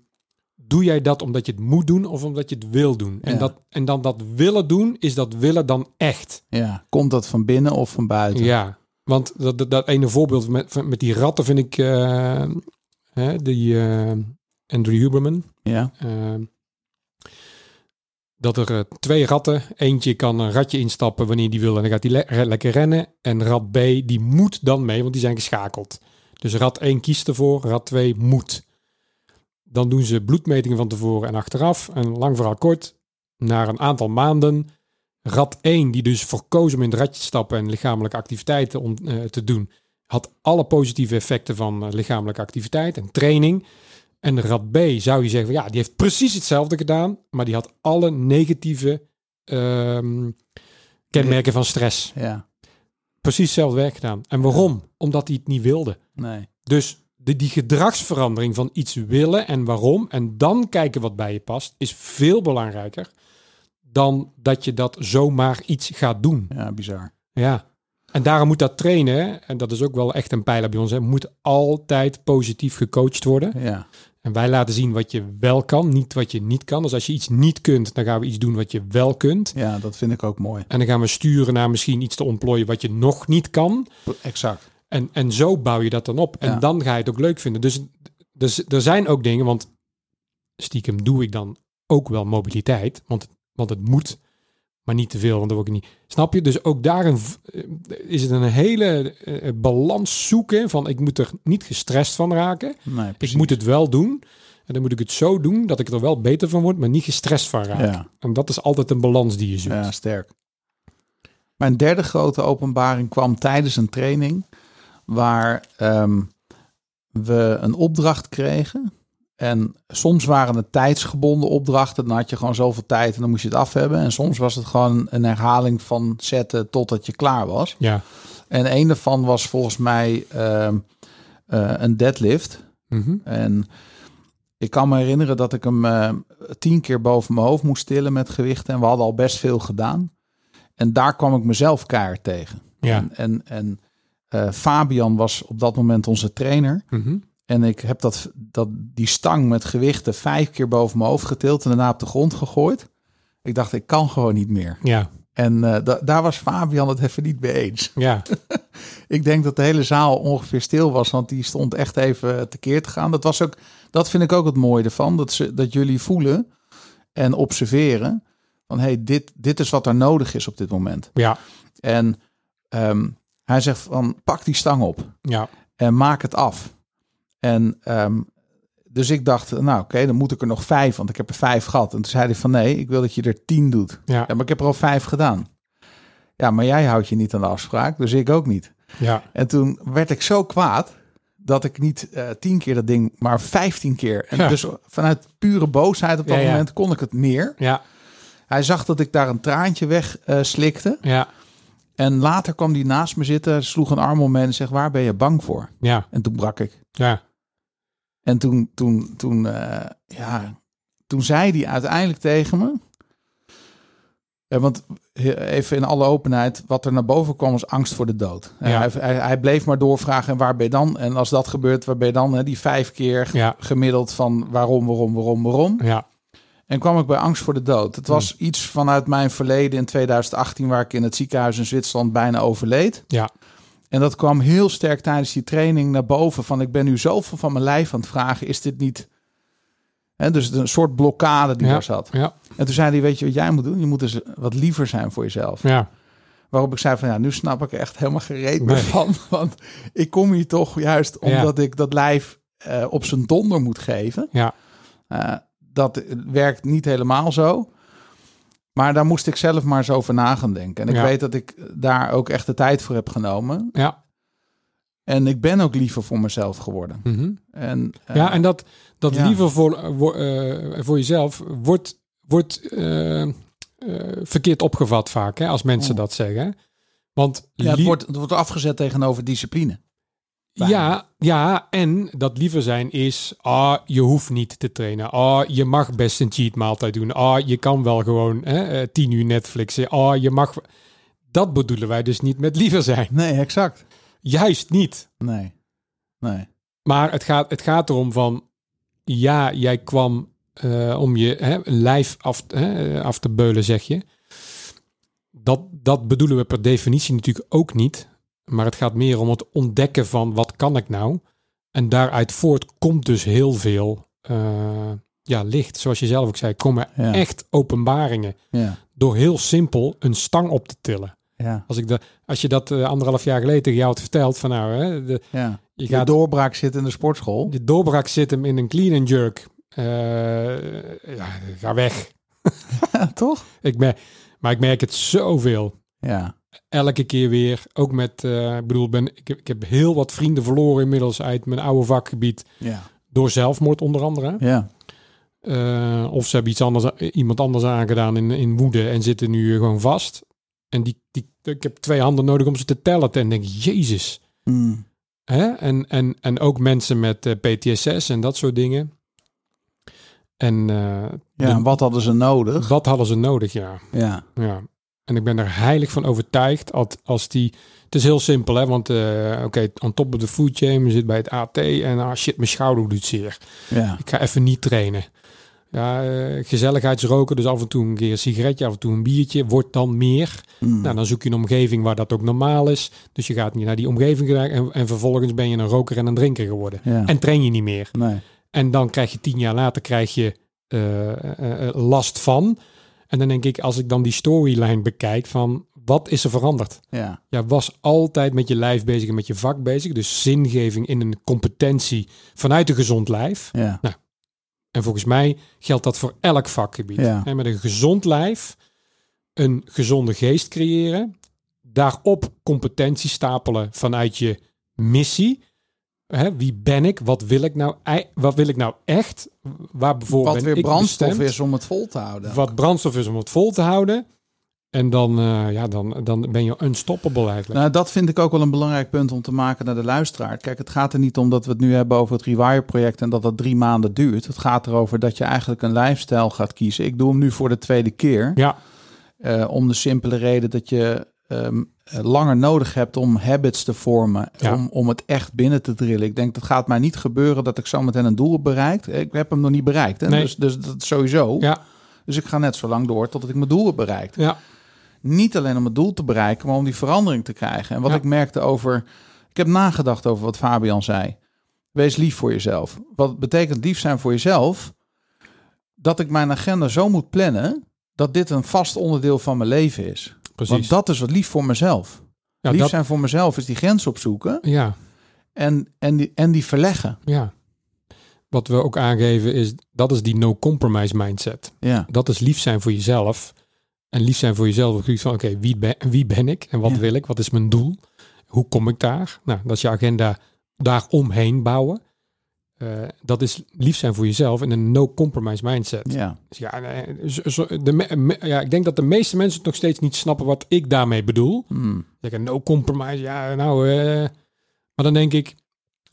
Speaker 4: doe jij dat omdat je het moet doen of omdat je het wil doen? En,
Speaker 1: Ja.
Speaker 4: dat, en dan dat willen doen, is dat willen dan echt?
Speaker 1: ja. Komt dat van binnen of van buiten?
Speaker 4: Ja, want dat, dat, dat ene voorbeeld met, van- met die ratten vind ik... eh, hè, die eh, Andrew Huberman.
Speaker 1: Ja.
Speaker 4: eh, dat er eh, twee ratten... Eentje kan een ratje instappen wanneer die wil... en dan gaat die le- re- lekker rennen. En rat B, die moet dan mee, want die zijn geschakeld. Dus rat 1 kiest ervoor, rat 2 moet. Dan doen ze bloedmetingen van tevoren en achteraf. En lang verhaal kort, na een aantal maanden... Rat 1, die dus verkoos om in het ratje te stappen en lichamelijke activiteiten om, eh, te doen, had alle positieve effecten van eh, lichamelijke activiteit en training. En rat B zou je zeggen, van, ja, die heeft precies hetzelfde gedaan, maar die had alle negatieve ehm, kenmerken van stress.
Speaker 1: Ja.
Speaker 4: Precies hetzelfde werk gedaan. En waarom? Omdat hij het niet wilde.
Speaker 1: Nee.
Speaker 4: Dus de, die gedragsverandering van iets willen en waarom, en dan kijken wat bij je past, is veel belangrijker dan dat je dat zomaar iets gaat doen.
Speaker 1: Ja, bizar.
Speaker 4: Ja. En daarom moet dat trainen, hè, en dat is ook wel echt een pijler bij ons, hè, moet altijd positief gecoacht worden.
Speaker 1: Ja.
Speaker 4: En wij laten zien wat je wel kan, niet wat je niet kan. Dus als je iets niet kunt, dan gaan we iets doen wat je wel kunt.
Speaker 1: Ja, dat vind ik ook mooi.
Speaker 4: En dan gaan we sturen naar misschien iets te ontplooien wat je nog niet kan.
Speaker 1: Exact.
Speaker 4: En, en zo bouw je dat dan op. En
Speaker 1: Ja.
Speaker 4: dan ga je het ook leuk vinden. Dus, dus er zijn ook dingen, want stiekem doe ik dan ook wel mobiliteit. Want, want het moet, maar niet te veel, want dan word ik niet... Snap je? Dus ook daarin v- eh, is het een hele eh, balans zoeken van... ik moet er niet gestrest van raken.
Speaker 1: Nee, precies.
Speaker 4: Ik moet het wel doen. En dan moet ik het zo doen dat ik er wel beter van word... maar niet gestrest van raak.
Speaker 1: Ja.
Speaker 4: En dat is altijd een balans die je zoekt.
Speaker 1: Ja, sterk. Mijn derde grote openbaring kwam tijdens een training waar ehm, we een opdracht kregen. En soms waren het tijdsgebonden opdrachten. Dan had je gewoon zoveel tijd en dan moest je het af hebben. En soms was het gewoon een herhaling van zetten totdat je klaar was.
Speaker 4: Ja.
Speaker 1: En een daarvan was volgens mij ehm, eh, een deadlift.
Speaker 4: Mhm.
Speaker 1: En ik kan me herinneren dat ik hem eh, tien keer boven mijn hoofd moest tillen met gewichten. En we hadden al best veel gedaan. En daar kwam ik mezelf keihard tegen.
Speaker 4: Ja.
Speaker 1: En, en, en, eh, Fabian was op dat moment onze trainer.
Speaker 4: Mhm.
Speaker 1: En ik heb dat, dat, die stang met gewichten vijf keer boven mijn hoofd getild. En daarna op de grond gegooid. Ik dacht, ik kan gewoon niet meer.
Speaker 4: Ja.
Speaker 1: En eh, da- daar was Fabian het even niet mee eens.
Speaker 4: Ja.
Speaker 1: Ik denk dat de hele zaal ongeveer stil was, want die stond echt even tekeer te gaan. Dat, was ook, dat vind ik ook het mooie ervan, dat, ze, dat jullie voelen en observeren van hey, dit, dit is wat er nodig is op dit moment.
Speaker 4: Ja.
Speaker 1: En ehm, hij zegt van pak die stang op
Speaker 4: Ja.
Speaker 1: en maak het af. En ehm, dus ik dacht, nou oké, dan moet ik er nog vijf, want ik heb er vijf gehad. En toen zei hij van nee, ik wil dat je er tien doet.
Speaker 4: Ja.
Speaker 1: Ja, maar ik heb er al vijf gedaan. Ja, maar jij houdt je niet aan de afspraak, dus ik ook niet.
Speaker 4: Ja.
Speaker 1: En toen werd ik zo kwaad dat ik niet eh, tien keer dat ding, maar vijftien keer. En
Speaker 4: Ja.
Speaker 1: dus vanuit pure boosheid op dat
Speaker 4: Ja, ja.
Speaker 1: moment kon ik het meer.
Speaker 4: Ja.
Speaker 1: Hij zag dat ik daar een traantje weg eh, slikte.
Speaker 4: Ja.
Speaker 1: En later kwam hij naast me zitten, sloeg een arm om me heen en zegt, waar ben je bang voor?
Speaker 4: Ja.
Speaker 1: En toen brak ik.
Speaker 4: Ja.
Speaker 1: En toen, toen, toen, eh, ja, toen zei hij uiteindelijk tegen me. Ja, want he- even in alle openheid, wat er naar boven kwam was angst voor de dood. En
Speaker 4: Ja.
Speaker 1: Hij, hij, hij bleef maar doorvragen, en waar ben je dan? En als dat gebeurt, waar ben je dan? Hè, die vijf keer
Speaker 4: Ja.
Speaker 1: gemiddeld van waarom, waarom, waarom, waarom.
Speaker 4: Ja.
Speaker 1: En kwam ik bij angst voor de dood. Het was iets vanuit mijn verleden in 2018, waar ik in het ziekenhuis in Zwitserland bijna overleed.
Speaker 4: Ja.
Speaker 1: En dat kwam heel sterk tijdens die training naar boven. Van ik ben nu zoveel van mijn lijf aan het vragen. Is dit niet... Hè, dus een soort blokkade die
Speaker 4: Ja.
Speaker 1: daar zat.
Speaker 4: Ja.
Speaker 1: En toen zei hij, weet je wat jij moet doen? Je moet eens wat liever zijn voor jezelf.
Speaker 4: Ja.
Speaker 1: Waarop ik zei van, ja, nu snap ik er echt helemaal gereed meer
Speaker 4: Nee.
Speaker 1: van. [LAUGHS] Want ik kom hier toch juist omdat ik dat lijf eh, op zijn donder moet geven.
Speaker 4: Ja.
Speaker 1: Eh, dat werkt niet helemaal zo. Maar daar moest ik zelf maar eens over na gaan denken. En ik
Speaker 4: Ja.
Speaker 1: weet dat ik daar ook echt de tijd voor heb genomen.
Speaker 4: Ja.
Speaker 1: En ik ben ook liever voor mezelf geworden.
Speaker 4: Mhm.
Speaker 1: En, eh,
Speaker 4: Ja, en dat, dat
Speaker 1: ja.
Speaker 4: liever voor, eh, wo- eh, voor jezelf wordt, wordt eh, eh, verkeerd opgevat vaak, hè, als mensen
Speaker 1: Oh.
Speaker 4: dat zeggen. Want
Speaker 1: ja, het,
Speaker 4: lief-
Speaker 1: wordt, het wordt afgezet tegenover discipline. bijna.
Speaker 4: ja, ja, en dat liever zijn is, ah, je hoeft niet te trainen. Ah, je mag best een cheat maaltijd doen. Ah, je kan wel gewoon hè, eh, tien uur Netflixen. Ah, je mag... Dat bedoelen wij dus niet met liever zijn. [LAUGHS]
Speaker 1: Nee, exact.
Speaker 4: Juist niet.
Speaker 1: Nee. Nee.
Speaker 4: Maar het gaat, het gaat erom van, ja, jij kwam eh, om je hè, een lijf af, hè, eh, af te beulen, zeg je. Dat, dat bedoelen we per definitie natuurlijk ook niet. Maar het gaat meer om het ontdekken van wat kan ik nou. En daaruit voort komt dus heel veel eh, ja, licht. Zoals je zelf ook zei, komen
Speaker 1: Ja.
Speaker 4: echt openbaringen.
Speaker 1: Ja.
Speaker 4: Door heel simpel een stang op te tillen.
Speaker 1: Ja.
Speaker 4: Als, ik dat als je dat eh, anderhalf jaar geleden tegen jou had verteld, van nou, hè, de,
Speaker 1: ja.
Speaker 4: je
Speaker 1: De
Speaker 4: gaat
Speaker 1: doorbraak zit in de
Speaker 4: [LAUGHS]
Speaker 1: sportschool.
Speaker 4: de doorbraak zit hem in een clean and jerk. Eh, ja, ga weg.
Speaker 1: Ja, toch?
Speaker 4: Ik mer- maar ik merk het zoveel.
Speaker 1: Ja.
Speaker 4: Elke keer weer. Ook met, eh, ik bedoel, ik ben, ik, heb- ik heb heel wat vrienden verloren inmiddels uit mijn oude vakgebied.
Speaker 1: Ja.
Speaker 4: Door zelfmoord onder andere.
Speaker 1: Ja.
Speaker 4: Eh, of ze hebben iets anders, iemand anders aangedaan in, in woede en zitten nu eh, gewoon vast. En die, die, ik heb twee handen nodig om ze te tellen. En denk, ik, jezus.
Speaker 1: Mm.
Speaker 4: Hè? En, en, en ook mensen met eh, PTSS en dat soort dingen. En eh,
Speaker 1: Ja,
Speaker 4: De-
Speaker 1: en wat hadden ze nodig?
Speaker 4: wat hadden ze nodig, ja.
Speaker 1: Ja.
Speaker 4: ja. En ik ben er heilig van overtuigd dat als die... Het is heel simpel, hè. Want, eh, oké, on top of the food chain, je zit bij het AT en ah shit, mijn schouder doet zeer.
Speaker 1: Ja.
Speaker 4: Ik ga even niet trainen. Ja, eh, gezelligheidsroken, dus af en toe een keer een sigaretje, af en toe een biertje, wordt dan meer.
Speaker 1: Mm.
Speaker 4: Nou, dan zoek je een omgeving waar dat ook normaal is. Dus je gaat niet naar die omgeving en, en vervolgens ben je een roker en een drinker geworden.
Speaker 1: ja.
Speaker 4: En train je niet meer.
Speaker 1: nee.
Speaker 4: En dan krijg je tien jaar later krijg je eh, eh, eh, last van. En dan denk ik, als ik dan die storyline bekijk van wat is er veranderd?
Speaker 1: Ja.
Speaker 4: Jij was altijd met je lijf bezig en met je vak bezig. Dus zingeving in een competentie vanuit een gezond lijf.
Speaker 1: Ja.
Speaker 4: En volgens mij geldt dat voor elk vakgebied.
Speaker 1: Ja.
Speaker 4: En met een gezond lijf een gezonde geest creëren. Daarop competentie stapelen vanuit je missie. Hè, wie ben ik? Wat wil ik nou, ei- wat wil ik nou echt? Waar bijvoorbeeld
Speaker 1: Wat
Speaker 4: ben
Speaker 1: weer
Speaker 4: ik
Speaker 1: brandstof
Speaker 4: bestemd?
Speaker 1: is om het vol te houden.
Speaker 4: Wat brandstof is om het vol te houden. En dan, eh, ja, dan, dan ben je unstoppable eigenlijk.
Speaker 1: Nou, dat vind ik ook wel een belangrijk punt om te maken naar de luisteraar. Kijk, het gaat er niet om dat we het nu hebben over het Rewire-project en dat dat drie maanden duurt. Het gaat erover dat je eigenlijk een lifestyle gaat kiezen. Ik doe hem nu voor de tweede keer.
Speaker 4: ja,
Speaker 1: eh, om de simpele reden dat je ehm, eh, langer nodig hebt om habits te vormen.
Speaker 4: Ja.
Speaker 1: Om, om het echt binnen te drillen. Ik denk, dat gaat mij niet gebeuren dat ik zo meteen een doel heb bereikt. Ik heb hem nog niet bereikt. Hè?
Speaker 4: Nee.
Speaker 1: Dus, dus dat sowieso.
Speaker 4: ja,
Speaker 1: Dus ik ga net zo lang door totdat ik mijn doel heb bereikt
Speaker 4: ja,
Speaker 1: niet alleen om het doel te bereiken, maar om die verandering te krijgen. En wat
Speaker 4: Ja.
Speaker 1: ik merkte over. Ik heb nagedacht over wat Fabian zei. Wees lief voor jezelf. Wat betekent lief zijn voor jezelf? Dat ik mijn agenda zo moet plannen dat dit een vast onderdeel van mijn leven is.
Speaker 4: precies.
Speaker 1: Want dat is wat lief voor mezelf.
Speaker 4: ja,
Speaker 1: lief
Speaker 4: dat-
Speaker 1: zijn voor mezelf is die grens opzoeken
Speaker 4: ja,
Speaker 1: en, en, die, en die verleggen.
Speaker 4: ja. Wat we ook aangeven is, dat is die no-compromise mindset.
Speaker 1: Ja,
Speaker 4: dat is lief zijn voor jezelf. En lief zijn voor jezelf op het gebied van oké, wie, ben, wie ben ik en wat
Speaker 1: Ja.
Speaker 4: wil ik? Wat is mijn doel? Hoe kom ik daar? Nou, dat is je agenda daaromheen bouwen. Eh, dat is lief zijn voor jezelf in een no-compromise mindset.
Speaker 1: ja,
Speaker 4: Dus ja, eh, zo- zo- de me- me- ja, ik denk dat de meeste mensen het nog steeds niet snappen wat ik daarmee bedoel.
Speaker 1: Hmm.
Speaker 4: Zeggen no-compromise, ja, nou... eh. Maar dan denk ik,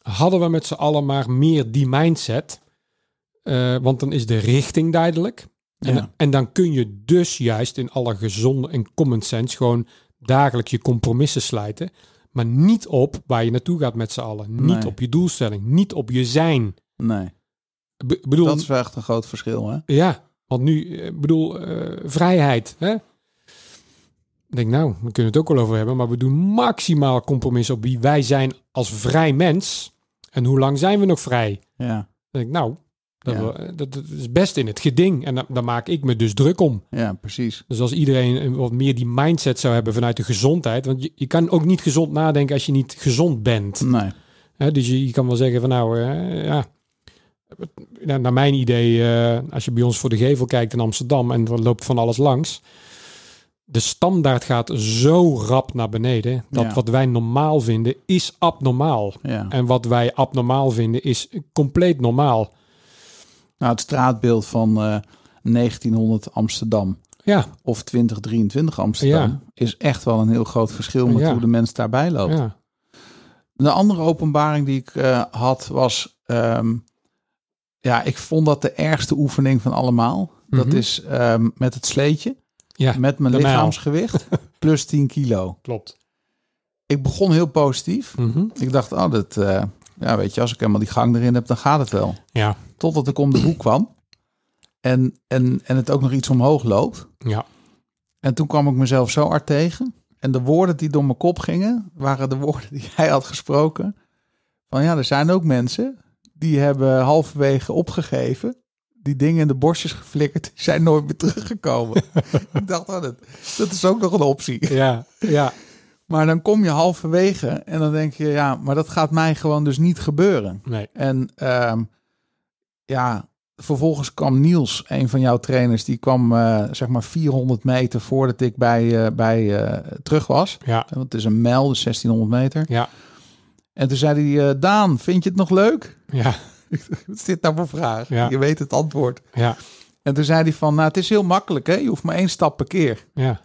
Speaker 4: hadden we met z'n allen maar meer die mindset... eh, want dan is de richting duidelijk. En,
Speaker 1: ja.
Speaker 4: en dan kun je dus juist in alle gezonde en common sense gewoon dagelijks je compromissen slijten. Maar niet op waar je naartoe gaat met z'n allen. Niet
Speaker 1: Nee.
Speaker 4: op je doelstelling. Niet op je zijn.
Speaker 1: nee.
Speaker 4: B- bedoel,
Speaker 1: Dat is wel echt een groot verschil. Hè?
Speaker 4: ja, want nu, eh, bedoel, eh, vrijheid. Hè? Ik denk, nou, we kunnen het ook wel over hebben. Maar we doen maximaal compromis op wie wij zijn als vrij mens. En hoe lang zijn we nog vrij?
Speaker 1: Ja,
Speaker 4: Dan denk ik, nou, dat,
Speaker 1: Ja.
Speaker 4: we- dat, dat is best in het geding. En da- daar maak ik me dus druk om.
Speaker 1: ja, precies.
Speaker 4: Dus als iedereen een- wat meer die mindset zou hebben vanuit de gezondheid. Want je, je kan ook niet gezond nadenken als je niet gezond bent.
Speaker 1: Nee.
Speaker 4: Hè, dus je, je kan wel zeggen van nou, eh, ja. Nou, naar mijn idee, eh, als je bij ons voor de gevel kijkt in Amsterdam en er loopt van alles langs. de standaard gaat zo rap naar beneden. Dat
Speaker 1: Ja.
Speaker 4: wat wij normaal vinden, is abnormaal.
Speaker 1: Ja.
Speaker 4: En wat wij abnormaal vinden, is compleet normaal.
Speaker 1: Nou, het straatbeeld van eh, 1900 Amsterdam
Speaker 4: Ja,
Speaker 1: of 2023 Amsterdam
Speaker 4: Ja.
Speaker 1: is echt wel een heel groot verschil met
Speaker 4: Ja.
Speaker 1: hoe de mens daarbij loopt.
Speaker 4: ja.
Speaker 1: Een andere openbaring die ik eh, had was, ehm, ja, ik vond dat de ergste oefening van allemaal. Dat
Speaker 4: Mhm.
Speaker 1: is ehm, met het sleetje,
Speaker 4: ja
Speaker 1: met mijn
Speaker 4: de mijl. [LAUGHS]
Speaker 1: lichaamsgewicht, plus 10 kilo.
Speaker 4: klopt.
Speaker 1: Ik begon heel positief.
Speaker 4: Mhm.
Speaker 1: Ik dacht, oh, dat, eh, ja, weet je, als ik helemaal die gang erin heb, dan gaat het wel.
Speaker 4: Ja,
Speaker 1: Totdat ik om de hoek kwam en, en, en het ook nog iets omhoog loopt.
Speaker 4: ja.
Speaker 1: En toen kwam ik mezelf zo hard tegen. En de woorden die door mijn kop gingen, waren de [LAUGHS] woorden die hij had gesproken. Van ja, er zijn ook mensen die hebben halverwege opgegeven. Die dingen in de borstjes geflikkerd, die zijn nooit meer
Speaker 4: [LAUGHS]
Speaker 1: teruggekomen. ik dacht, oh, dat, dat is ook nog een optie.
Speaker 4: ja, ja.
Speaker 1: Maar dan kom je halverwege en dan denk je, ja, maar dat gaat mij gewoon dus niet gebeuren.
Speaker 4: Nee.
Speaker 1: En ehm, ja, vervolgens kwam Niels, een van jouw trainers, die kwam eh, zeg maar 400 meter voordat ik bij, eh, bij eh, terug was.
Speaker 4: Ja,
Speaker 1: Want het is een mijl, dus 1600 meter.
Speaker 4: ja,
Speaker 1: En toen zei hij, eh, Daan, vind je het nog leuk? [LAUGHS]
Speaker 4: ja,
Speaker 1: Wat is dit nou voor vraag?
Speaker 4: Ja.
Speaker 1: Je weet het antwoord.
Speaker 4: ja,
Speaker 1: En toen zei hij van, nou het is heel makkelijk hè, je hoeft maar één stap per keer.
Speaker 4: ja.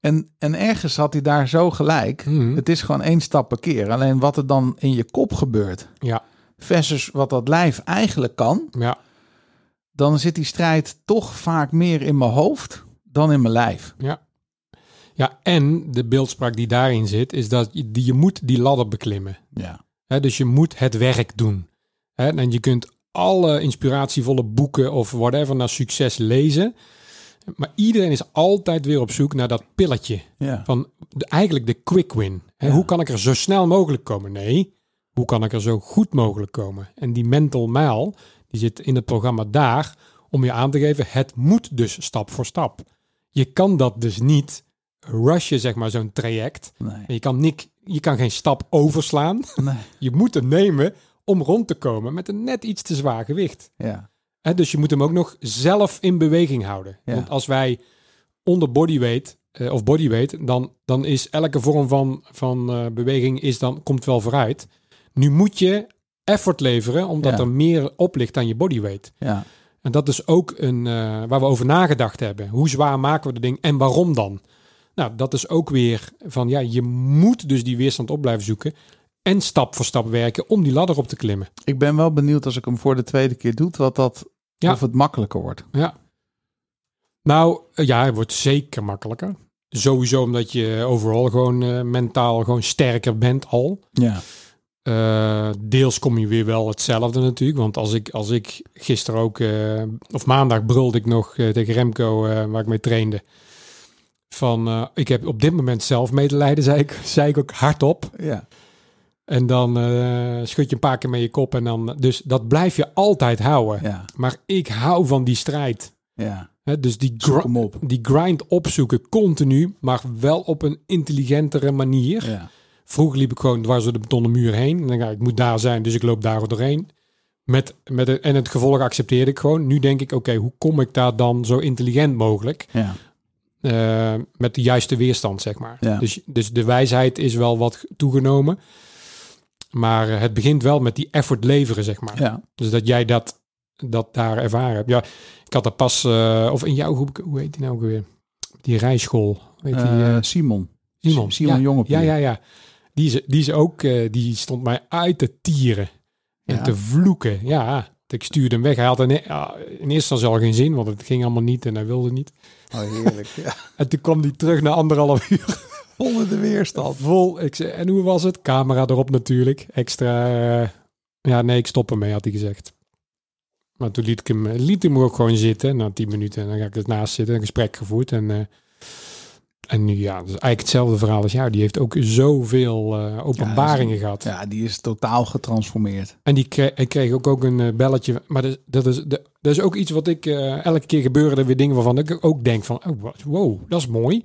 Speaker 1: En, en ergens had hij daar zo gelijk.
Speaker 4: Mhm.
Speaker 1: Het is gewoon één stap per keer. Alleen wat er dan in je kop gebeurt,
Speaker 4: Ja,
Speaker 1: versus wat dat lijf eigenlijk kan,
Speaker 4: ja,
Speaker 1: dan zit die strijd toch vaak meer in mijn hoofd dan in mijn lijf.
Speaker 4: ja. Ja, en de beeldspraak die daarin zit, is dat je, die- je moet die ladder beklimmen.
Speaker 1: Ja.
Speaker 4: Hè, dus je moet het werk doen. Hè, en je kunt alle inspiratievolle boeken of whatever naar succes lezen. Maar iedereen is altijd weer op zoek naar dat pilletje.
Speaker 1: Ja.
Speaker 4: Van de, eigenlijk de quick win. Hè, Hoe kan ik er zo snel mogelijk komen? Nee, hoe kan ik er zo goed mogelijk komen? En die mental mile, die zit in het programma daar om je aan te geven, het moet dus stap voor stap. Je kan dat dus niet rushen, zeg maar, zo'n traject.
Speaker 1: Nee.
Speaker 4: En je kan, nik, je kan geen stap overslaan.
Speaker 1: Nee.
Speaker 4: [LAUGHS] Je moet hem nemen om rond te komen met een net iets te zwaar gewicht.
Speaker 1: Ja.
Speaker 4: Hè, dus je moet hem ook nog zelf in beweging houden.
Speaker 1: Ja.
Speaker 4: Want als wij onder bodyweight eh, of bodyweight, dan, dan is elke vorm van, van eh, beweging is dan, komt wel vooruit. Nu moet je effort leveren, omdat
Speaker 1: Ja.
Speaker 4: er meer op ligt dan je bodyweight.
Speaker 1: Ja.
Speaker 4: En dat is ook een, eh, waar we over nagedacht hebben. Hoe zwaar maken we de ding en waarom dan? Nou, dat is ook weer van ja, je moet dus die weerstand op blijven zoeken. En stap voor stap werken om die ladder op te klimmen.
Speaker 1: Ik ben wel benieuwd als ik hem voor de tweede keer doe, wat dat,
Speaker 4: Ja.
Speaker 1: of het makkelijker wordt.
Speaker 4: Ja. Nou eh, ja, het wordt zeker makkelijker. Sowieso omdat je overal gewoon eh, mentaal gewoon sterker bent al.
Speaker 1: Ja.
Speaker 4: Eh, deels kom je weer wel hetzelfde natuurlijk. Want als ik, als ik gisteren ook, eh, of maandag brulde ik nog eh, tegen Remco, eh, waar ik mee trainde. Van, eh, ik heb op dit moment zelf medelijden, zei ik, [LAUGHS] zei ik ook hardop.
Speaker 1: Ja.
Speaker 4: En dan eh, schud je een paar keer met je kop. En dan, dus dat blijf je altijd houden.
Speaker 1: Ja.
Speaker 4: Maar ik hou van die strijd.
Speaker 1: Ja.
Speaker 4: Hè, dus die,
Speaker 1: Zoek
Speaker 4: gri-
Speaker 1: hem op.
Speaker 4: die grind opzoeken continu, maar wel op een intelligentere manier.
Speaker 1: Ja.
Speaker 4: Vroeger liep ik gewoon dwars door de betonnen muur heen. En dan ga ik, ik moet daar zijn, dus ik loop daar doorheen. Met, met een- en het gevolg accepteerde ik gewoon. Nu denk ik, oké, hoe kom ik daar dan zo intelligent mogelijk?
Speaker 1: Ja.
Speaker 4: Eh, met de juiste weerstand, zeg maar.
Speaker 1: Ja.
Speaker 4: Dus, dus de wijsheid is wel wat toegenomen. Maar eh, het begint wel met die effort leveren, zeg maar.
Speaker 1: Ja.
Speaker 4: Dus dat jij dat, dat daar ervaren hebt. Ja, ik had er pas, eh, of in jouw groep, hoe heet die nou ook weer? Die rijschool. Weet die, eh,
Speaker 1: Eh, Simon.
Speaker 4: Simon.
Speaker 1: Simon
Speaker 4: ja.
Speaker 1: Jongepier.
Speaker 4: Ja, ja, ja. Die is, die is ook, eh, die stond mij uit te tieren en
Speaker 1: Ja.
Speaker 4: te vloeken. Ja, ik stuurde hem weg. Hij had in, ja, in eerste instantie al geen zin, want het ging allemaal niet en hij wilde niet.
Speaker 1: Oh, heerlijk. Ja.
Speaker 4: En toen kwam hij terug na anderhalf [LAUGHS] uur
Speaker 1: Onder de weerstand.
Speaker 4: vol. Ik zei, en hoe was het? Camera erop natuurlijk. Extra. eh, ja, nee, ik stop ermee, had hij gezegd. Maar toen liet ik hem, eh, liet hem ook gewoon zitten na tien minuten. En dan ga ik ernaast zitten, een gesprek gevoerd. En, eh, en nu, ja, dat is eigenlijk hetzelfde verhaal als jou. Die heeft ook zoveel eh, openbaringen gehad.
Speaker 1: Ja, die is totaal getransformeerd.
Speaker 4: En die kreeg, ik kreeg ook, ook een eh, belletje. Maar dat, dat, is, dat, dat is ook iets wat ik... eh, elke keer gebeuren er weer dingen waarvan ik ook denk van... Oh, wa- wow, dat is mooi.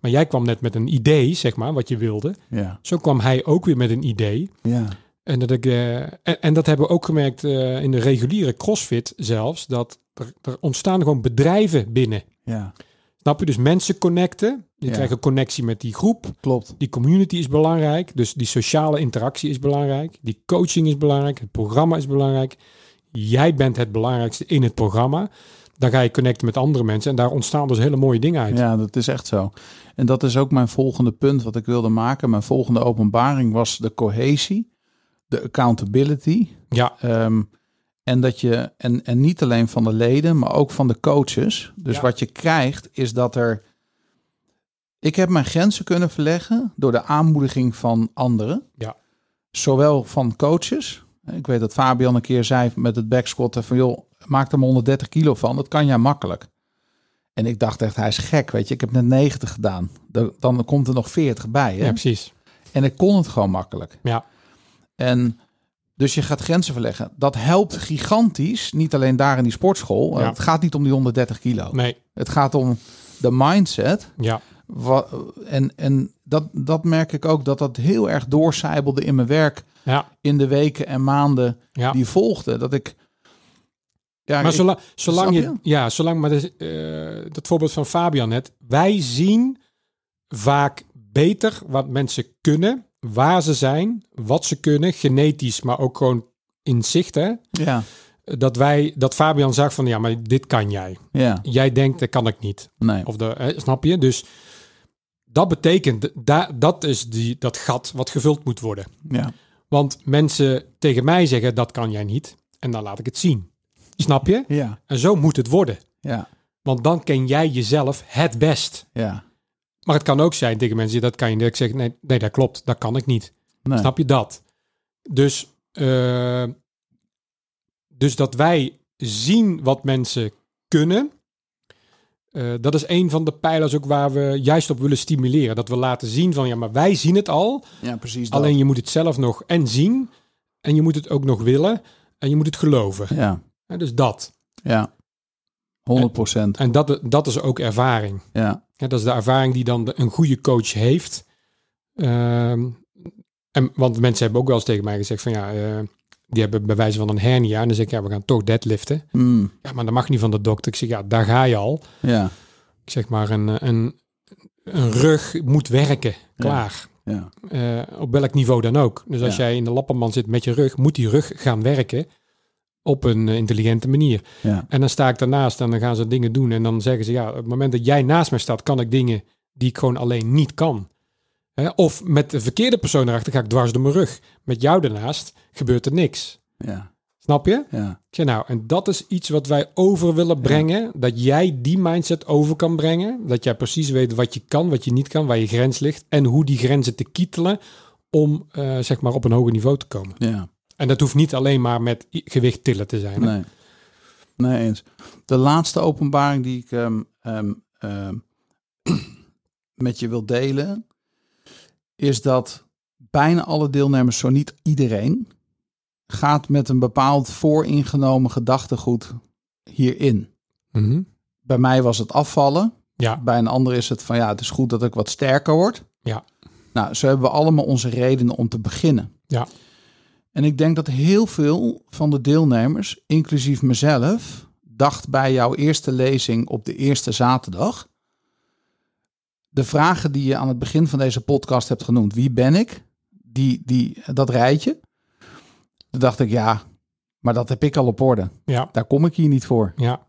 Speaker 4: Maar jij kwam net met een idee, zeg maar, wat je wilde.
Speaker 1: Ja.
Speaker 4: Zo kwam hij ook weer met een idee.
Speaker 1: Ja.
Speaker 4: En dat, ik, eh, en, en dat hebben we ook gemerkt eh, in de reguliere CrossFit zelfs. Dat er, er ontstaan gewoon bedrijven binnen.
Speaker 1: Ja.
Speaker 4: Snap je? Dus mensen connecten. Je
Speaker 1: Ja.
Speaker 4: krijgt een connectie met die groep.
Speaker 1: Klopt.
Speaker 4: Die community is belangrijk. Dus die sociale interactie is belangrijk. Die coaching is belangrijk. Het programma is belangrijk. Jij bent het belangrijkste in het programma. Dan ga je connecten met andere mensen. En daar ontstaan dus hele mooie dingen uit.
Speaker 1: Ja, dat is echt zo. En dat is ook mijn volgende punt wat ik wilde maken. Mijn volgende openbaring was de cohesie, de accountability.
Speaker 4: Ja.
Speaker 1: Ehm, en dat je, en, en niet alleen van de leden, maar ook van de coaches. Dus
Speaker 4: Ja.
Speaker 1: wat je krijgt is dat er. Ik heb mijn grenzen kunnen verleggen door de aanmoediging van anderen.
Speaker 4: Ja.
Speaker 1: Zowel van coaches. Ik weet dat Fabian een keer zei met het backsquatten van joh, maak er maar 130 kilo van. Dat kan jij makkelijk. En ik dacht echt, hij is gek, weet je. Ik heb net 90 gedaan. Dan- Dan komt er nog 40 bij. Hè?
Speaker 4: Ja, precies.
Speaker 1: En ik kon het gewoon makkelijk.
Speaker 4: Ja.
Speaker 1: En dus je gaat grenzen verleggen. Dat helpt gigantisch. Niet alleen daar in die sportschool.
Speaker 4: Ja.
Speaker 1: Het gaat niet om die 130 kilo.
Speaker 4: Nee.
Speaker 1: Het gaat om de mindset.
Speaker 4: Ja.
Speaker 1: Wa- En, en dat, dat merk ik ook. Dat dat heel erg doorcijbelde in mijn werk.
Speaker 4: Ja.
Speaker 1: In de weken en maanden
Speaker 4: Ja.
Speaker 1: die volgden. Dat ik... Ja,
Speaker 4: Maar
Speaker 1: ik-
Speaker 4: zola- zolang
Speaker 1: Snap
Speaker 4: je, ja, zolang, maar dus, eh, dat voorbeeld van Fabian net. Wij zien vaak beter wat mensen kunnen, waar ze zijn, wat ze kunnen, genetisch, maar ook gewoon in zicht. Hè?
Speaker 1: ja,
Speaker 4: Dat wij, dat Fabian zag van ja, maar dit kan jij.
Speaker 1: ja,
Speaker 4: Jij denkt, dat kan ik niet.
Speaker 1: nee.
Speaker 4: Of de, hè, snap je? Dus dat betekent, da, dat is die, dat gat wat gevuld moet worden.
Speaker 1: Ja,
Speaker 4: Want mensen tegen mij zeggen, dat kan jij niet. En dan laat ik het zien. Snap je?
Speaker 1: ja,
Speaker 4: En zo moet het worden.
Speaker 1: ja,
Speaker 4: Want dan ken jij jezelf het best.
Speaker 1: ja.
Speaker 4: Maar het kan ook zijn tegen mensen, dat kan je niet. Ik zeg, nee, nee, dat klopt, dat kan ik niet.
Speaker 1: Nee.
Speaker 4: Snap je dat? Dus, eh, dus dat wij zien wat mensen kunnen, eh, dat is een van de pijlers ook waar we juist op willen stimuleren. Dat we laten zien van, ja, maar wij zien het al.
Speaker 1: Ja, precies dat.
Speaker 4: Alleen je moet het zelf nog en zien. En je moet het ook nog willen. En je moet het geloven.
Speaker 1: Ja,
Speaker 4: Hè, dus dat.
Speaker 1: ja. 100 procent.
Speaker 4: En dat, dat is ook ervaring.
Speaker 1: Ja,
Speaker 4: Ja, dat is de ervaring die dan de- een goede coach heeft. Ehm, en, want mensen hebben ook wel eens tegen mij gezegd van ja, eh, die hebben bij wijze van een hernia. En dan zeg ik ja, we gaan toch deadliften.
Speaker 1: Mm,
Speaker 4: Ja, maar dat mag niet van de dokter. Ik zeg ja, daar ga je al.
Speaker 1: ja,
Speaker 4: Ik zeg maar een, eh, een, een rug moet werken. Klaar.
Speaker 1: ja,
Speaker 4: Eh, op welk niveau dan ook. Dus als
Speaker 1: Ja.
Speaker 4: jij in de lappenman zit met je rug, moet die rug gaan werken op een eh, intelligente manier.
Speaker 1: ja.
Speaker 4: En dan sta ik daarnaast en dan gaan ze dingen doen. En dan zeggen ze, ja, op het moment dat jij naast mij staat, kan ik dingen die ik gewoon alleen niet kan. Hè? Of met de verkeerde persoon erachter ga ik dwars door mijn rug. Met jou ernaast gebeurt er niks.
Speaker 1: Ja,
Speaker 4: Snap je?
Speaker 1: ja,
Speaker 4: Ik zeg nou, en dat is iets wat wij over willen brengen. Dat jij die mindset over kan brengen. Dat jij precies weet wat je kan, wat je niet kan, waar je grens ligt. En hoe die grenzen te kietelen om eh, zeg maar op een hoger niveau te komen.
Speaker 1: ja.
Speaker 4: En dat hoeft niet alleen maar met i- gewicht tillen te zijn. hè?
Speaker 1: Nee. Nee eens. De laatste openbaring die ik ehm, ehm, ehm, [CLEARS THROAT] met je wil delen, is dat bijna alle deelnemers, zo niet iedereen, gaat met een bepaald vooringenomen gedachtegoed hierin.
Speaker 4: Mhm.
Speaker 1: Bij mij was het afvallen.
Speaker 4: Ja,
Speaker 1: Bij een ander is het van ja, het is goed dat ik wat sterker word.
Speaker 4: Ja.
Speaker 1: Nou, zo hebben we allemaal onze redenen om te beginnen.
Speaker 4: Ja.
Speaker 1: En ik denk dat heel veel van de deelnemers, inclusief mezelf, dacht bij jouw eerste lezing op de eerste zaterdag. De vragen die je aan het begin van deze podcast hebt genoemd, wie ben ik? Die, die, dat rijtje. Toen dacht ik, ja, maar dat heb ik al op orde.
Speaker 4: ja,
Speaker 1: Daar kom ik hier niet voor.
Speaker 4: ja.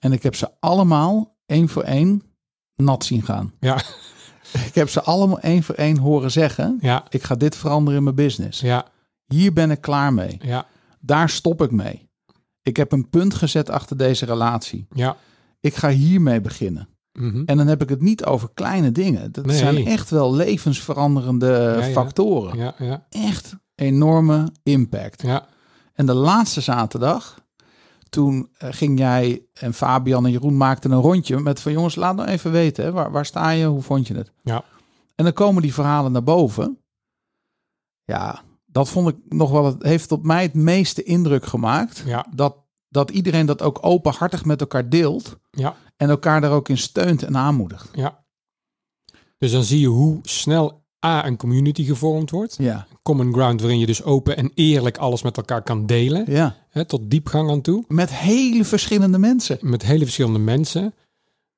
Speaker 1: En ik heb ze allemaal één voor één nat zien gaan.
Speaker 4: Ja.
Speaker 1: Ik heb ze allemaal één voor één horen zeggen:
Speaker 4: Ja,
Speaker 1: ik ga dit veranderen in mijn business.
Speaker 4: ja,
Speaker 1: Hier ben ik klaar mee.
Speaker 4: ja,
Speaker 1: Daar stop ik mee. Ik heb een punt gezet achter deze relatie.
Speaker 4: ja.
Speaker 1: Ik ga hiermee beginnen.
Speaker 4: Mhm.
Speaker 1: En dan heb ik het niet over kleine dingen. Dat
Speaker 4: Nee.
Speaker 1: zijn echt wel levensveranderende
Speaker 4: ja.
Speaker 1: factoren.
Speaker 4: Ja, ja,
Speaker 1: Echt enorme impact.
Speaker 4: ja,
Speaker 1: En de laatste zaterdag, toen eh, ging jij en Fabian en Jeroen maakten een rondje met van jongens, laat nou even weten, hè, waar, waar sta je, hoe vond je het?
Speaker 4: Ja.
Speaker 1: En dan komen die verhalen naar boven. Ja, dat vond ik nog wel, het heeft op mij het meeste indruk gemaakt.
Speaker 4: ja,
Speaker 1: Dat, dat iedereen dat ook openhartig met elkaar deelt
Speaker 4: ja,
Speaker 1: en elkaar daar ook in steunt en aanmoedigt.
Speaker 4: ja. Dus dan zie je hoe snel A, een community gevormd wordt.
Speaker 1: Ja,
Speaker 4: Common ground waarin je dus open en eerlijk alles met elkaar kan delen.
Speaker 1: ja.
Speaker 4: Hè, tot diepgang aan toe.
Speaker 1: Met hele verschillende mensen.
Speaker 4: Met hele verschillende mensen.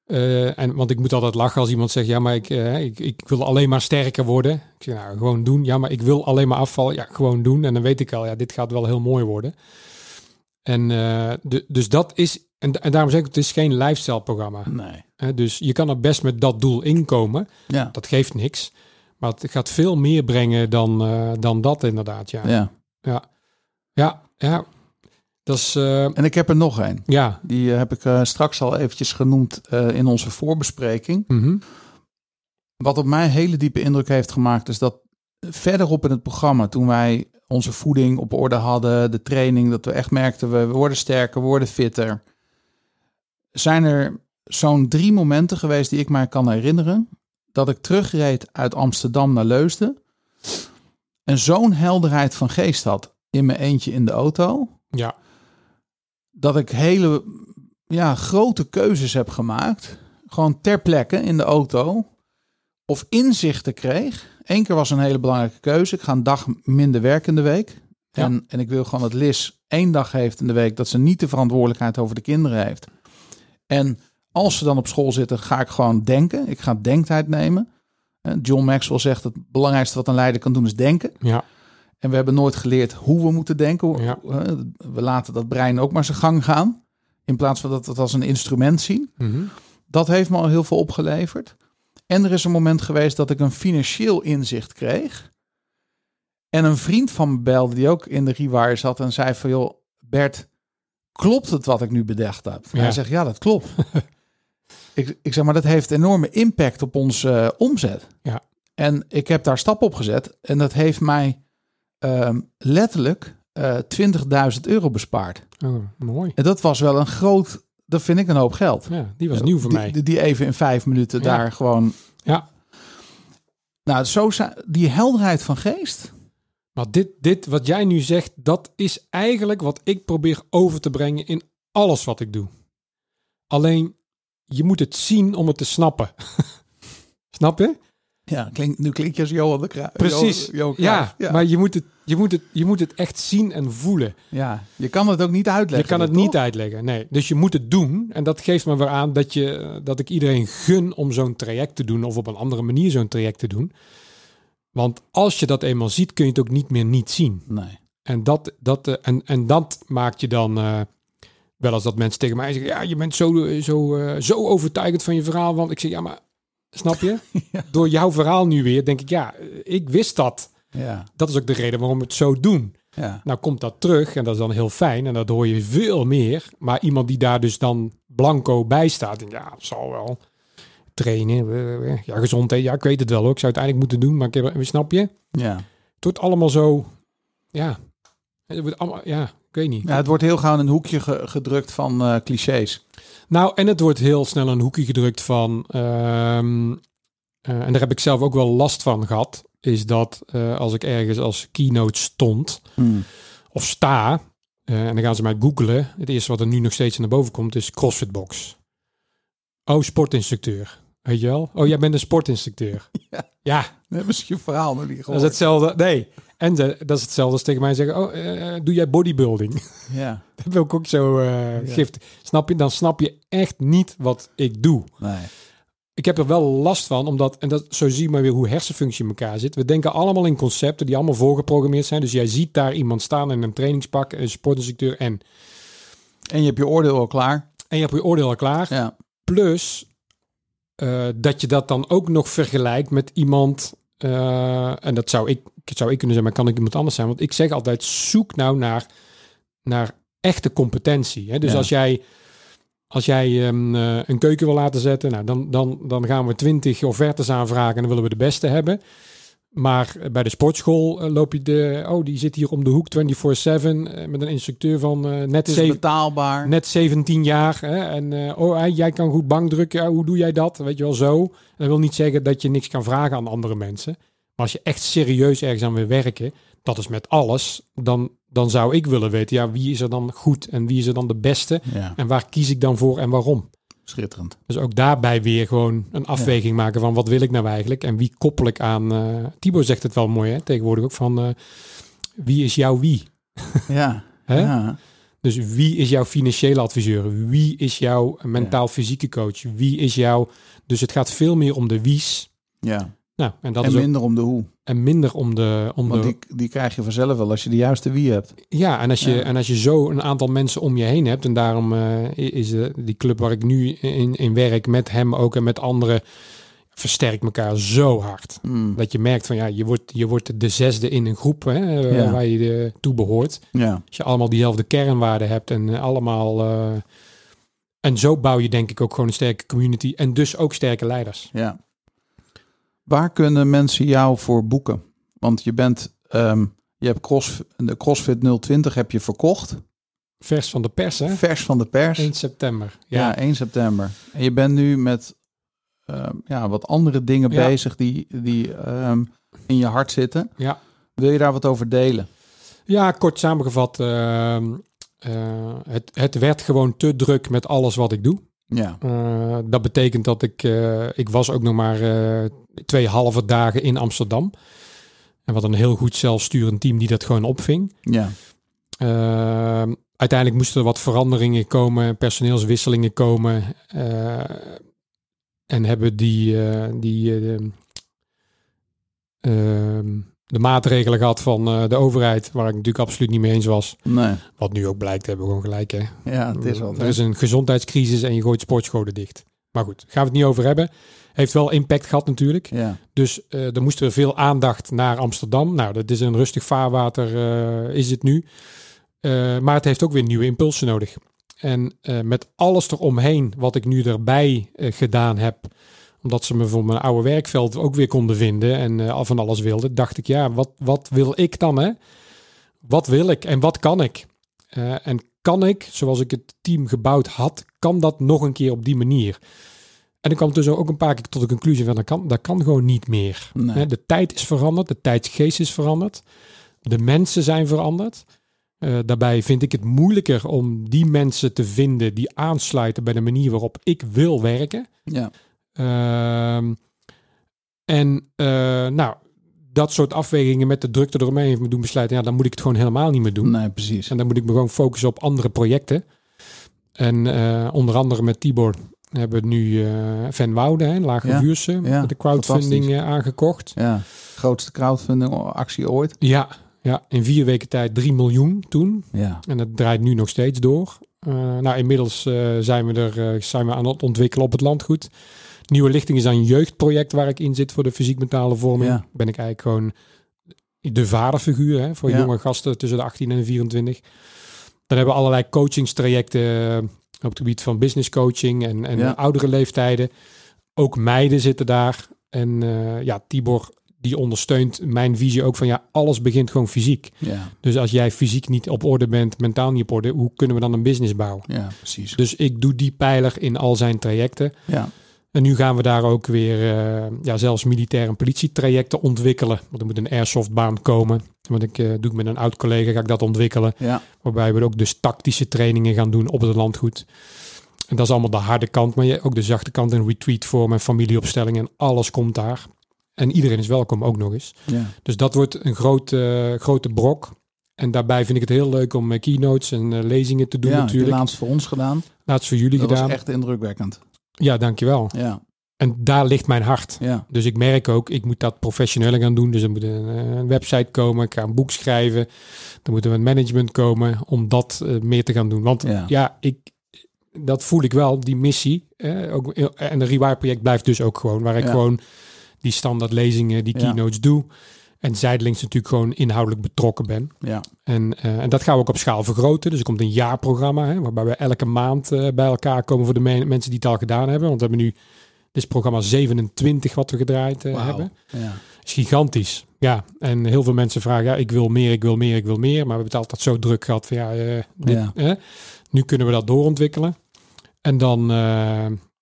Speaker 4: Eh, en, want ik moet altijd lachen als iemand zegt, ja, maar ik, eh, ik, ik wil alleen maar sterker worden. Ik zeg, nou, gewoon doen. Ja, maar ik wil alleen maar afvallen. Ja, gewoon doen. En dan weet ik al, ja, dit gaat wel heel mooi worden. En eh, du- dus dat is, en, da- en daarom zeg ik, het is geen lifestyle programma.
Speaker 1: Nee.
Speaker 4: Hè, dus je kan er best met dat doel inkomen.
Speaker 1: Ja.
Speaker 4: Dat geeft niks. Maar het gaat veel meer brengen dan, eh, dan dat inderdaad, ja.
Speaker 1: ja.
Speaker 4: Ja, ja, ja. Dat is, eh,
Speaker 1: En ik heb er nog één.
Speaker 4: ja.
Speaker 1: Die eh, heb ik eh, straks al eventjes genoemd eh, in onze voorbespreking.
Speaker 4: Mhm.
Speaker 1: Wat op mij een hele diepe indruk heeft gemaakt, is dat verderop in het programma, toen wij onze voeding op orde hadden, de training, dat we echt merkten, we worden sterker, we worden fitter. Zijn er zo'n drie momenten geweest die ik mij kan herinneren. Dat ik terugreed uit Amsterdam naar Leusden. En zo'n helderheid van geest had in mijn eentje in de auto.
Speaker 4: Ja.
Speaker 1: Dat ik hele ja, grote keuzes heb gemaakt. Gewoon ter plekke in de auto of inzichten kreeg. Eén keer was een hele belangrijke keuze. Ik ga een dag minder werken in de week.
Speaker 4: Ja.
Speaker 1: En, en ik wil gewoon dat Liz één dag heeft in de week dat ze niet de verantwoordelijkheid over de kinderen heeft. En als ze dan op school zitten, ga ik gewoon denken. Ik ga denktijd nemen. Eh, John Maxwell zegt het belangrijkste wat een leider kan doen is denken.
Speaker 4: Ja.
Speaker 1: En we hebben nooit geleerd hoe we moeten denken. Hoe-
Speaker 4: Ja.
Speaker 1: eh, We laten dat brein ook maar zijn gang gaan. In plaats van dat we het als een instrument zien.
Speaker 4: Mhm.
Speaker 1: Dat heeft me al heel veel opgeleverd. En er is een moment geweest dat ik een financieel inzicht kreeg. En een vriend van me belde die ook in de rewire zat en zei van joh, Bert, klopt het wat ik nu bedacht heb?
Speaker 4: Ja.
Speaker 1: Hij zegt ja, dat
Speaker 4: [LAUGHS]
Speaker 1: klopt. ik, ik zeg maar, dat heeft enorme impact op onze eh, omzet.
Speaker 4: Ja.
Speaker 1: En ik heb daar stap op gezet en dat heeft mij ehm, letterlijk eh 20.000 euro bespaard.
Speaker 4: Oh, mooi.
Speaker 1: En dat was wel een groot, dat vind ik een hoop geld.
Speaker 4: Ja, die was nieuw voor
Speaker 1: die,
Speaker 4: mij.
Speaker 1: Die, die even in vijf minuten
Speaker 4: Ja.
Speaker 1: daar gewoon.
Speaker 4: Ja.
Speaker 1: Nou, zo zi- die helderheid van geest.
Speaker 4: Maar dit, dit wat jij nu zegt, dat is eigenlijk wat ik probeer over te brengen in alles wat ik doe. Alleen, je moet het zien om het te snappen. [LAUGHS] Snap je?
Speaker 1: Ja, klink, nu klink je als Johan de Kruijf.
Speaker 4: Precies.
Speaker 1: Johan- Johan
Speaker 4: ja,
Speaker 1: Cruijff. ja.
Speaker 4: maar je moet, het, je, moet het, je moet het echt zien en voelen.
Speaker 1: Ja. je kan het ook niet uitleggen.
Speaker 4: je kan het
Speaker 1: dit,
Speaker 4: niet
Speaker 1: toch?
Speaker 4: uitleggen, nee. Dus je moet het doen. En dat geeft me weer aan dat, je, dat ik iedereen gun om zo'n traject te doen... of op een andere manier zo'n traject te doen. Want als je dat eenmaal ziet, kun je het ook niet meer niet zien.
Speaker 1: Nee.
Speaker 4: En dat, dat, eh, en, en dat maakt je dan eh, wel eens dat mensen tegen mij zeggen: Ja, je bent zo, eh, zo, eh, zo overtuigend van je verhaal. Want ik zeg: Ja, maar snap je? Door jouw verhaal nu weer, denk ik: Ja, eh, ik wist dat.
Speaker 1: Ja,
Speaker 4: Dat is ook de reden waarom we het zo doen.
Speaker 1: ja.
Speaker 4: Nou komt dat terug en dat is dan heel fijn en dat hoor je veel meer. Maar iemand die daar dus dan blanco bij staat, denkt, ja, het zal wel. Trainen, eh, eh, ja, gezondheid, ja, ik weet het wel hoor. Ik zou het uiteindelijk moeten doen, maar ik heb, snap je?
Speaker 1: Ja.
Speaker 4: het wordt allemaal zo. Ja. Het wordt allemaal, ja, ik weet niet.
Speaker 1: ja, het wordt heel gauw in een hoekje ge- gedrukt van eh, clichés.
Speaker 4: Nou, en het wordt heel snel een hoekje gedrukt van. ehm, eh, en daar heb ik zelf ook wel last van gehad. Is dat eh, als ik ergens als keynote stond of sta. eh, en dan gaan ze mij googlen. Het eerste wat er nu nog steeds naar boven komt is CrossFitbox. Oh, sportinstructeur. Weet je wel? Oh, jij bent een sportinstructeur.
Speaker 1: [LAUGHS] Ja.
Speaker 4: ja
Speaker 1: Nee, misschien je verhaal nog niet
Speaker 4: dat is
Speaker 1: gehoord.
Speaker 4: hetzelfde. Nee. En ze- dat is hetzelfde als tegen mij zeggen: Oh, eh, doe jij bodybuilding?
Speaker 1: Ja,
Speaker 4: [LAUGHS] Dat wil ik ook zo eh gift. Snap je? Dan snap je echt niet wat ik doe.
Speaker 1: nee.
Speaker 4: Ik heb er wel last van, omdat, en dat, zo zie je maar weer hoe hersenfunctie in elkaar zit. We denken allemaal in concepten die allemaal voorgeprogrammeerd zijn. Dus jij ziet daar iemand staan in een trainingspak, een sportinstructeur en.
Speaker 1: En je hebt je oordeel al klaar.
Speaker 4: En je hebt je oordeel al klaar.
Speaker 1: Ja,
Speaker 4: Plus eh, dat je dat dan ook nog vergelijkt met iemand. eh, en dat zou ik, dat zou ik kunnen zijn, maar kan ik iemand anders zijn? Want ik zeg altijd: zoek nou naar, naar echte competentie. Hè? Dus
Speaker 1: Ja.
Speaker 4: als jij, als jij ehm, eh, een keuken wil laten zetten, nou, dan, dan, dan gaan we twintig offertes aanvragen en dan willen we de beste hebben. Maar eh, bij de sportschool eh, loop je de. Oh, die zit hier om de hoek 24-7 eh, met een instructeur van eh, net
Speaker 1: het is
Speaker 4: zeven-
Speaker 1: betaalbaar.
Speaker 4: net 17 jaar. Hè, en eh, oh, hij- jij kan goed bankdrukken. Ja, hoe doe jij dat? Weet je wel, zo. En dat wil niet zeggen dat je niks kan vragen aan andere mensen. Maar als je echt serieus ergens aan wil werken, dat is met alles, dan, dan zou ik willen weten, ja, wie is er dan goed en wie is er dan de beste?
Speaker 1: Ja,
Speaker 4: En waar kies ik dan voor en waarom? [LAUGHS]
Speaker 1: schitterend.
Speaker 4: Dus ook daarbij weer gewoon een afweging maken van wat wil ik nou eigenlijk en wie koppel ik aan. eh Tibo zegt het wel mooi hè, tegenwoordig ook van eh, wie is jouw wie?
Speaker 1: Ja,
Speaker 4: Hè?
Speaker 1: ja.
Speaker 4: Dus wie is jouw financiële adviseur? Wie is jouw mentaal-fysieke coach? Wie is jouw... Dus het gaat veel meer om de wie's.
Speaker 1: Ja.
Speaker 4: Nou, en, dat
Speaker 1: En
Speaker 4: is ook,
Speaker 1: minder om de hoe.
Speaker 4: en minder om de... Om
Speaker 1: Want
Speaker 4: de
Speaker 1: die, die krijg je vanzelf wel als je de juiste wie hebt.
Speaker 4: ja, en als je,
Speaker 1: Ja.
Speaker 4: en als je zo een aantal mensen om je heen hebt... en daarom eh, is eh, die club waar ik nu in, in werk met hem ook en met anderen... versterkt elkaar zo hard.
Speaker 1: Hmm.
Speaker 4: Dat je merkt van ja, je wordt, je wordt de zesde in een groep hè, eh,
Speaker 1: Ja.
Speaker 4: waar je eh, toe behoort.
Speaker 1: Ja.
Speaker 4: Als je allemaal diezelfde kernwaarden hebt en eh, allemaal. eh, en zo bouw je denk ik ook gewoon een sterke community en dus ook sterke leiders.
Speaker 1: Ja. Waar kunnen mensen jou voor boeken? Want je bent, ehm, je hebt cross, de CrossFit 020 heb je verkocht.
Speaker 4: Vers van de pers, hè?
Speaker 1: Vers van de pers.
Speaker 4: 1 september.
Speaker 1: ja.
Speaker 4: Ja,
Speaker 1: 1 september. En je bent nu met ehm, ja, wat andere dingen
Speaker 4: Ja.
Speaker 1: bezig die, die ehm, in je hart zitten.
Speaker 4: Ja.
Speaker 1: Wil je daar wat over delen?
Speaker 4: ja kort samengevat. ehm, eh, het, het werd gewoon te druk met alles wat ik doe.
Speaker 1: Ja.
Speaker 4: Eh, dat betekent dat ik, eh, ik was ook nog maar eh, twee halve dagen in Amsterdam. En wat een heel goed zelfsturend team die dat gewoon opving.
Speaker 1: Ja.
Speaker 4: Eh, uiteindelijk moesten er wat veranderingen komen, personeelswisselingen komen. eh, en hebben die, eh, die eh, de, ehm, de maatregelen gehad van eh, de overheid, waar ik natuurlijk absoluut niet mee eens was.
Speaker 1: Nee.
Speaker 4: Wat nu ook blijkt, hebben we gewoon gelijk. Hè?
Speaker 1: Ja, het is
Speaker 4: Er
Speaker 1: altijd.
Speaker 4: is een gezondheidscrisis en je gooit sportscholen dicht. Maar goed, gaan we het niet over hebben. Heeft wel impact gehad natuurlijk.
Speaker 1: Ja.
Speaker 4: Dus eh er moest er veel aandacht naar Amsterdam. Nou, dat is een rustig vaarwater, eh, is het nu. Eh, maar het heeft ook weer nieuwe impulsen nodig. En eh, met alles eromheen wat ik nu erbij eh, gedaan heb, omdat ze me voor mijn oude werkveld ook weer konden vinden en eh, al van alles wilden, dacht ik, ja, wat, wat wil ik dan? Hè? Wat wil ik en wat kan ik? Eh, en kan ik, zoals ik het team gebouwd had, kan dat nog een keer op die manier? En ik kwam dus ook een paar keer tot de conclusie van dat kan, dat kan gewoon niet meer.
Speaker 1: Nee.
Speaker 4: Hè, De tijd is veranderd, de tijdsgeest is veranderd, de mensen zijn veranderd. Eh, daarbij vind ik het moeilijker om die mensen te vinden die aansluiten bij de manier waarop ik wil werken.
Speaker 1: Ja.
Speaker 4: Ehm, en eh, nou, dat soort afwegingen met de drukte eromheen heeft me doen besluiten, ja, dan moet ik het gewoon helemaal niet meer doen.
Speaker 1: Nee, precies.
Speaker 4: En dan moet ik me gewoon focussen op andere projecten. En eh, onder andere met Tibor hebben we nu eh Van Wouden, hè, Lage
Speaker 1: Ja,
Speaker 4: Vuurse,
Speaker 1: ja,
Speaker 4: met de crowdfunding eh, aangekocht.
Speaker 1: Ja. Grootste crowdfunding actie ooit.
Speaker 4: Ja, ja, in vier weken tijd 3 miljoen toen.
Speaker 1: Ja.
Speaker 4: En dat draait nu nog steeds door. Eh, nou, inmiddels eh, zijn, we er, eh, zijn we aan het ontwikkelen op het landgoed. Nieuwe Lichting is dan een jeugdproject waar ik in zit voor de fysiek-mentale vorming.
Speaker 1: Ja.
Speaker 4: Ben ik eigenlijk gewoon de vaderfiguur hè, voor
Speaker 1: Ja.
Speaker 4: jonge gasten tussen de 18 en de 24. Dan hebben we allerlei coachingstrajecten eh, op het gebied van business coaching en, en
Speaker 1: Ja.
Speaker 4: oudere leeftijden. Ook meiden zitten daar. En eh, ja, Tibor die ondersteunt mijn visie ook van ja, alles begint gewoon fysiek.
Speaker 1: Ja.
Speaker 4: Dus als jij fysiek niet op orde bent, mentaal niet op orde, hoe kunnen we dan een business bouwen?
Speaker 1: Ja, precies.
Speaker 4: Dus ik doe die pijler in al zijn trajecten.
Speaker 1: Ja.
Speaker 4: En nu gaan we daar ook weer eh, ja, zelfs militair en politietrajecten ontwikkelen. Want er moet een airsoftbaan komen. Want ik eh, doe ik met een oud collega, ga ik dat ontwikkelen.
Speaker 1: Ja.
Speaker 4: Waarbij we ook dus tactische trainingen gaan doen op het landgoed. En dat is allemaal de harde kant, maar je- ook de zachte kant en retreatvorm en familieopstelling en alles komt daar. En iedereen is welkom ook nog eens.
Speaker 1: Ja.
Speaker 4: Dus dat wordt een groot, eh, grote brok. En daarbij vind ik het heel leuk om eh, keynotes en eh, lezingen te doen
Speaker 1: ja, die
Speaker 4: natuurlijk.
Speaker 1: laatst voor ons gedaan.
Speaker 4: Laatst voor jullie
Speaker 1: Dat
Speaker 4: gedaan.
Speaker 1: was echt indrukwekkend.
Speaker 4: Ja, dankjewel.
Speaker 1: Ja,
Speaker 4: En daar ligt mijn hart.
Speaker 1: ja,
Speaker 4: Dus ik merk ook, ik moet dat professioneler gaan doen. Dus er moet een, eh, een website komen, ik ga een boek schrijven. Dan moet er een management komen om dat eh, meer te gaan doen. Want ja,
Speaker 1: Ja.
Speaker 4: ik, dat voel ik wel, die missie. eh, ook, en het Rewire project blijft dus ook gewoon. Waar ik
Speaker 1: Ja.
Speaker 4: gewoon die standaard lezingen, die
Speaker 1: Ja.
Speaker 4: keynotes doe. En zijdelings natuurlijk gewoon inhoudelijk betrokken ben.
Speaker 1: ja,
Speaker 4: En, eh, en dat gaan we ook op schaal vergroten. Dus er komt een jaarprogramma, hè, waarbij we elke maand eh, bij elkaar komen voor de me- mensen die het al gedaan hebben. Want we hebben nu, dit is programma 27 wat we gedraaid eh,
Speaker 1: Wauw.
Speaker 4: hebben.
Speaker 1: ja,
Speaker 4: Dat is gigantisch. Ja, en heel veel mensen vragen, ja, ik wil meer, ik wil meer, ik wil meer. Maar we hebben het altijd zo druk gehad van, ja, eh, dit,
Speaker 1: Ja.
Speaker 4: hè. nu kunnen we dat doorontwikkelen. En dan, eh,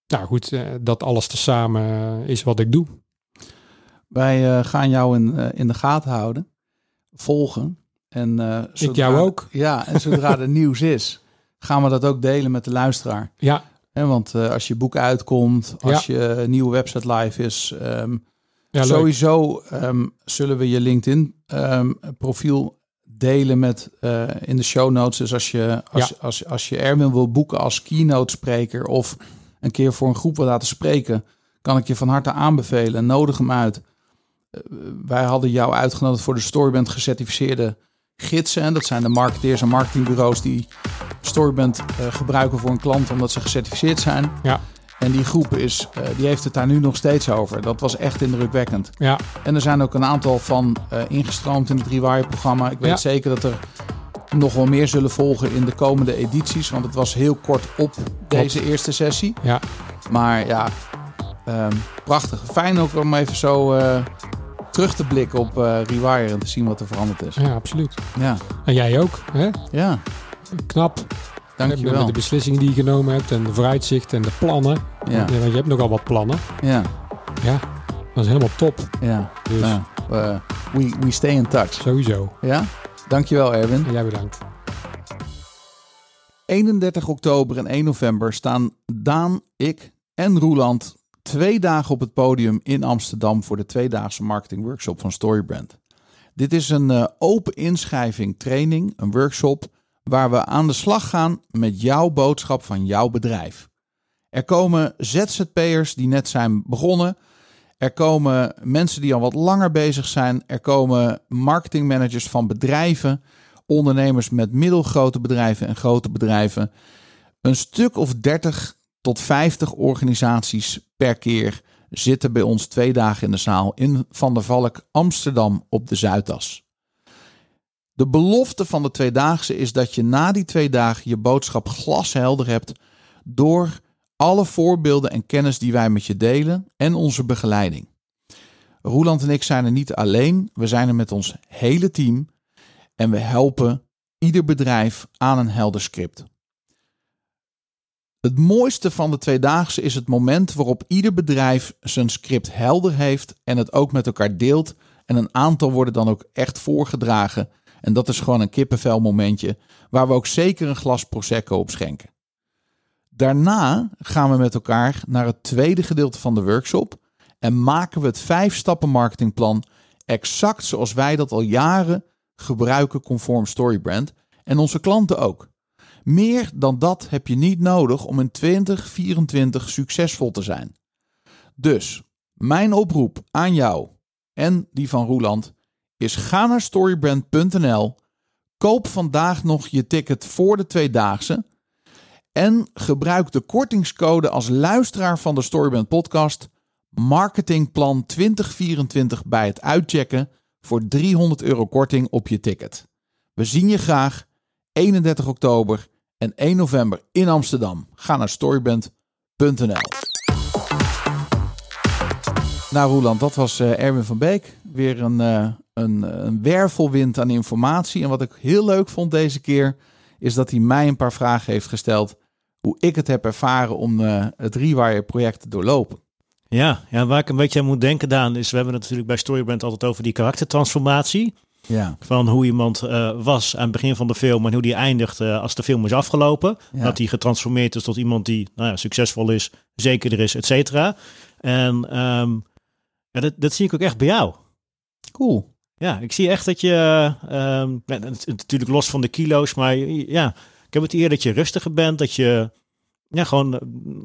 Speaker 4: nou goed, eh, dat alles tezamen eh, is wat ik doe.
Speaker 1: Wij eh, gaan jou in, eh, in de gaten houden, volgen. En, eh, zodra-
Speaker 4: jou ook.
Speaker 1: Ja, en zodra
Speaker 4: [LAUGHS]
Speaker 1: er nieuws is, gaan we dat ook delen met de luisteraar.
Speaker 4: Ja,
Speaker 1: Hè, want eh, als je boek uitkomt, als je eh, nieuwe website live is, ehm,
Speaker 4: ja leuk.
Speaker 1: sowieso ehm, zullen we je LinkedIn ehm, profiel delen met eh, in de show notes. Dus als je, als,
Speaker 4: Ja.
Speaker 1: als, als je Erwin wil boeken als keynote spreker of een keer voor een groep wil laten spreken, kan ik je van harte aanbevelen. Nodig hem uit. Eh, wij hadden jou uitgenodigd voor de Storyband gecertificeerde gidsen. En dat zijn de marketeers en marketingbureaus die Storyband eh, gebruiken voor een klant omdat ze gecertificeerd zijn.
Speaker 4: Ja.
Speaker 1: En die groep is, eh, die heeft het daar nu nog steeds over. Dat was echt indrukwekkend.
Speaker 4: Ja,
Speaker 1: En er zijn ook een aantal van eh, ingestroomd in het Rewire-programma. Ik weet
Speaker 4: Ja.
Speaker 1: zeker dat er nog wel meer zullen volgen in de komende edities. Want het was heel kort op deze eerste sessie.
Speaker 4: ja.
Speaker 1: Maar ja, ehm, prachtig. Fijn ook om even zo eh, terug te blikken op eh, Rewire en te zien wat er veranderd is.
Speaker 4: ja absoluut.
Speaker 1: Ja,
Speaker 4: En jij ook, hè?
Speaker 1: ja.
Speaker 4: Knap. Met
Speaker 1: dankjewel.
Speaker 4: de beslissingen die je genomen hebt en de vooruitzicht en de plannen.
Speaker 1: Ja,
Speaker 4: Want je hebt nogal wat plannen.
Speaker 1: ja,
Speaker 4: Ja, dat is helemaal top.
Speaker 1: ja.
Speaker 4: Dus
Speaker 1: Nou, eh, we, we stay in touch.
Speaker 4: sowieso.
Speaker 1: Ja? Dankjewel, Erwin.
Speaker 4: En jij bedankt.
Speaker 1: 31 oktober en 1 november staan Daan, ik en Roeland twee dagen op het podium in Amsterdam voor de tweedaagse marketingworkshop van Storybrand. Dit is een eh, open inschrijving training, een workshop, waar we aan de slag gaan met jouw boodschap van jouw bedrijf. Er komen ZZP'ers die net zijn begonnen. Er komen mensen die al wat langer bezig zijn. Er komen marketingmanagers van bedrijven ondernemers met middelgrote bedrijven en grote bedrijven. Een stuk of 30 tot 50 organisaties per keer zitten bij ons twee dagen in de zaal in Van der Valk, Amsterdam op de Zuidas. De belofte van de tweedaagse is dat je na die twee dagen je boodschap glashelder hebt door alle voorbeelden en kennis die wij met je delen en onze begeleiding. Roeland en ik zijn er niet alleen, we zijn er met ons hele team en we helpen ieder bedrijf aan een helder script. Het mooiste van de tweedaagse is het moment waarop ieder bedrijf zijn script helder heeft en het ook met elkaar deelt. En een aantal worden dan ook echt voorgedragen. En dat is gewoon een kippenvel momentje waar we ook zeker een glas Prosecco op schenken. Daarna gaan we met elkaar naar het tweede gedeelte van de workshop en maken we het vijf stappen marketingplan exact zoals wij dat al jaren gebruiken conform Storybrand en onze klanten ook. Meer dan dat heb je niet nodig om in 2024 succesvol te zijn. Dus mijn oproep aan jou en die van Roeland is ga naar storybrand.nl, koop vandaag nog je ticket voor de tweedaagse en gebruik de kortingscode als luisteraar van de Storybrand podcast marketingplan 2024 bij het uitchecken voor 300 euro korting op je ticket. We zien je graag 31 oktober en 1 november in Amsterdam. Ga naar storyband.nl. Nou Roeland, dat was eh, Erwin van Beek. Weer een, eh, een, eh, een wervelwind aan informatie. En wat ik heel leuk vond deze keer, is dat hij mij een paar vragen heeft gesteld. Hoe ik het heb ervaren om eh, het Rewire-project te doorlopen.
Speaker 3: Ja, ja, waar ik een beetje aan moet denken, Daan, is... we hebben het natuurlijk bij Storybrand altijd over die karaktertransformatie.
Speaker 1: Ja,
Speaker 3: Van hoe iemand eh, was aan het begin van de film... en hoe die eindigt eh, als de film is afgelopen.
Speaker 1: Ja.
Speaker 3: Dat hij getransformeerd is tot iemand die nou ja, succesvol is, zekerder is, et cetera. En ehm, ja, dat, dat zie ik ook echt bij jou.
Speaker 1: cool.
Speaker 3: Ja, ik zie echt dat je, eh, ehm, ja, dat is natuurlijk los van de kilo's, maar je- ja, ik heb het idee dat je rustiger bent, dat je ja, gewoon eh,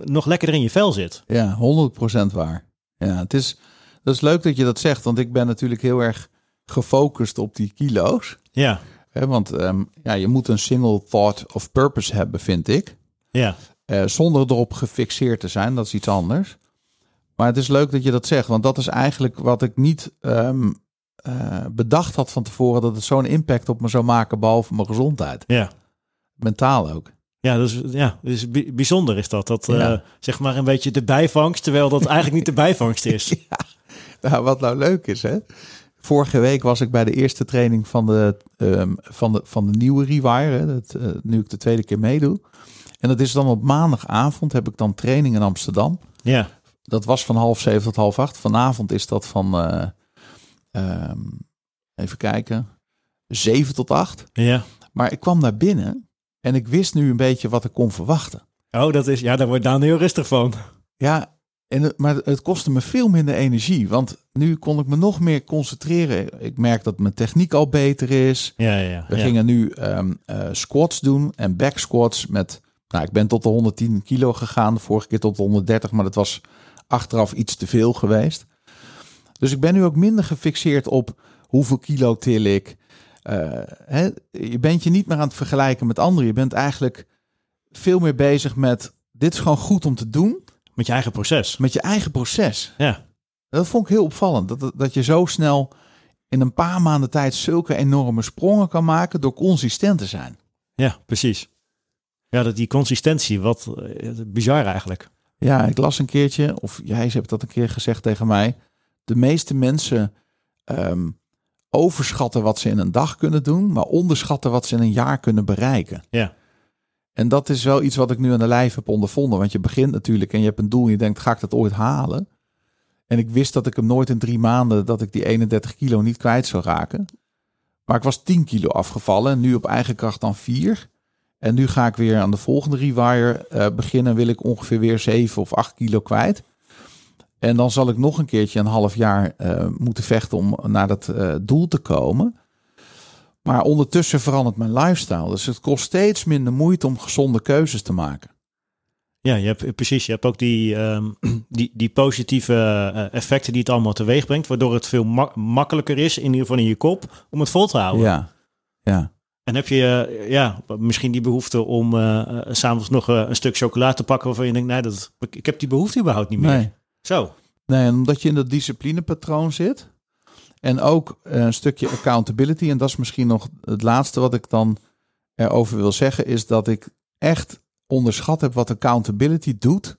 Speaker 3: nog lekkerder in je vel zit.
Speaker 1: Ja, 100% waar. Ja, het is, dat is leuk dat je dat zegt, want ik ben natuurlijk heel erg gefocust op die kilo's.
Speaker 3: Ja,
Speaker 1: Hè, want ehm, ja, je moet een single thought of purpose hebben, vind ik.
Speaker 3: ja,
Speaker 1: Eh, zonder erop gefixeerd te zijn, dat is iets anders. Maar het is leuk dat je dat zegt, want dat is eigenlijk wat ik niet ehm, eh, bedacht had van tevoren, dat het zo'n impact op me zou maken, behalve mijn gezondheid.
Speaker 3: ja.
Speaker 1: Mentaal ook.
Speaker 3: Ja, dat is, ja, dat is bij- bijzonder is dat. Dat eh,
Speaker 1: Ja.
Speaker 3: zeg maar een beetje de bijvangst, terwijl dat eigenlijk niet de
Speaker 1: [LAUGHS]
Speaker 3: bijvangst is.
Speaker 1: Nou, wat nou leuk is, hè? Vorige week was ik bij de eerste training van de, ehm, van de, van de nieuwe Rewire. Hè, dat, eh, nu ik de tweede keer meedoe. En dat is dan op maandagavond heb ik dan training in Amsterdam.
Speaker 3: Ja,
Speaker 1: Dat was van half zeven tot half acht. Vanavond is dat van, eh, ehm, even kijken, zeven tot acht.
Speaker 3: ja.
Speaker 1: Maar ik kwam naar binnen en ik wist nu een beetje wat ik kon verwachten.
Speaker 3: Oh, dat is, ja, daar wordt Daan heel rustig van.
Speaker 1: Ja, En, het- maar het kostte me veel minder energie. Want nu kon ik me nog meer concentreren. Ik merk dat mijn techniek al beter is.
Speaker 3: Ja, ja, ja.
Speaker 1: We
Speaker 3: ja.
Speaker 1: gingen nu ehm, eh, squats doen en back squats met... Nou, ik ben tot de 110 kilo gegaan. De vorige keer tot de 130, maar dat was achteraf iets te veel geweest. Dus ik ben nu ook minder gefixeerd op hoeveel kilo til ik. Eh, hè, je bent je niet meer aan het vergelijken met anderen. Je bent eigenlijk veel meer bezig met... Dit is gewoon goed om te doen
Speaker 3: Met je eigen proces.
Speaker 1: met je eigen proces.
Speaker 3: Ja.
Speaker 1: Dat vond ik heel opvallend. Dat- Dat, dat je zo snel in een paar maanden tijd zulke enorme sprongen kan maken door consistent te zijn.
Speaker 3: Ja, precies. Ja, dat die consistentie, wat eh, bizar eigenlijk.
Speaker 1: Ja, ik las een keertje, of jij hebt dat een keer gezegd tegen mij. De meeste mensen ehm, overschatten wat ze in een dag kunnen doen, maar onderschatten wat ze in een jaar kunnen bereiken.
Speaker 3: Ja.
Speaker 1: En dat is wel iets wat ik nu aan de lijf heb ondervonden. Want je begint natuurlijk en je hebt een doel en je denkt, ga ik dat ooit halen? En ik wist dat ik hem nooit in drie maanden, dat ik die 31 kilo niet kwijt zou raken. Maar ik was 10 kilo afgevallen en nu op eigen kracht dan 4. En nu ga ik weer aan de volgende rewire eh, beginnen. Wil ik ongeveer weer 7 of 8 kilo kwijt. En dan zal ik nog een keertje een half jaar eh, moeten vechten om naar dat eh, doel te komen. Maar ondertussen verandert mijn lifestyle. Dus het kost steeds minder moeite om gezonde keuzes te maken.
Speaker 3: Ja, je hebt, precies. Je hebt ook die, ehm, [CLEARS THROAT] die, die positieve eh, effecten die het allemaal teweeg brengt. Waardoor het veel mak- makkelijker is, in ieder geval in je kop, om het vol te houden.
Speaker 1: Ja, ja,
Speaker 3: En heb je eh, ja, misschien die behoefte om eh, eh, 's s'avonds nog eh, een stuk chocola te pakken waarvan je denkt, nee, dat, ik, ik heb die behoefte überhaupt niet meer.
Speaker 1: nee.
Speaker 3: Zo,
Speaker 1: Nee, en omdat je in dat disciplinepatroon zit. En ook eh, een stukje accountability. En dat is misschien nog het laatste wat ik dan erover wil zeggen. Is dat ik echt onderschat heb wat accountability doet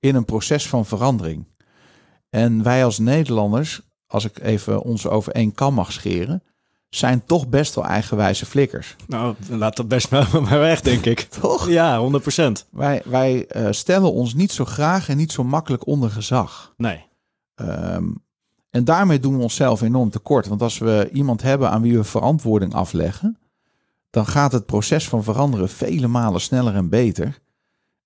Speaker 1: in een proces van verandering. En wij als Nederlanders, als ik even ons over één kam mag scheren, zijn toch best wel eigenwijze flikkers.
Speaker 3: nou, laat dat best maar, [LAUGHS] maar weg, denk ik.
Speaker 1: Toch?
Speaker 3: Ja, 100 procent.
Speaker 1: Wij, wij eh, stellen ons niet zo graag en niet zo makkelijk onder gezag.
Speaker 3: Nee,
Speaker 1: Ehm, en daarmee doen we onszelf enorm tekort. Want als we iemand hebben aan wie we verantwoording afleggen, dan gaat het proces van veranderen vele malen sneller en beter.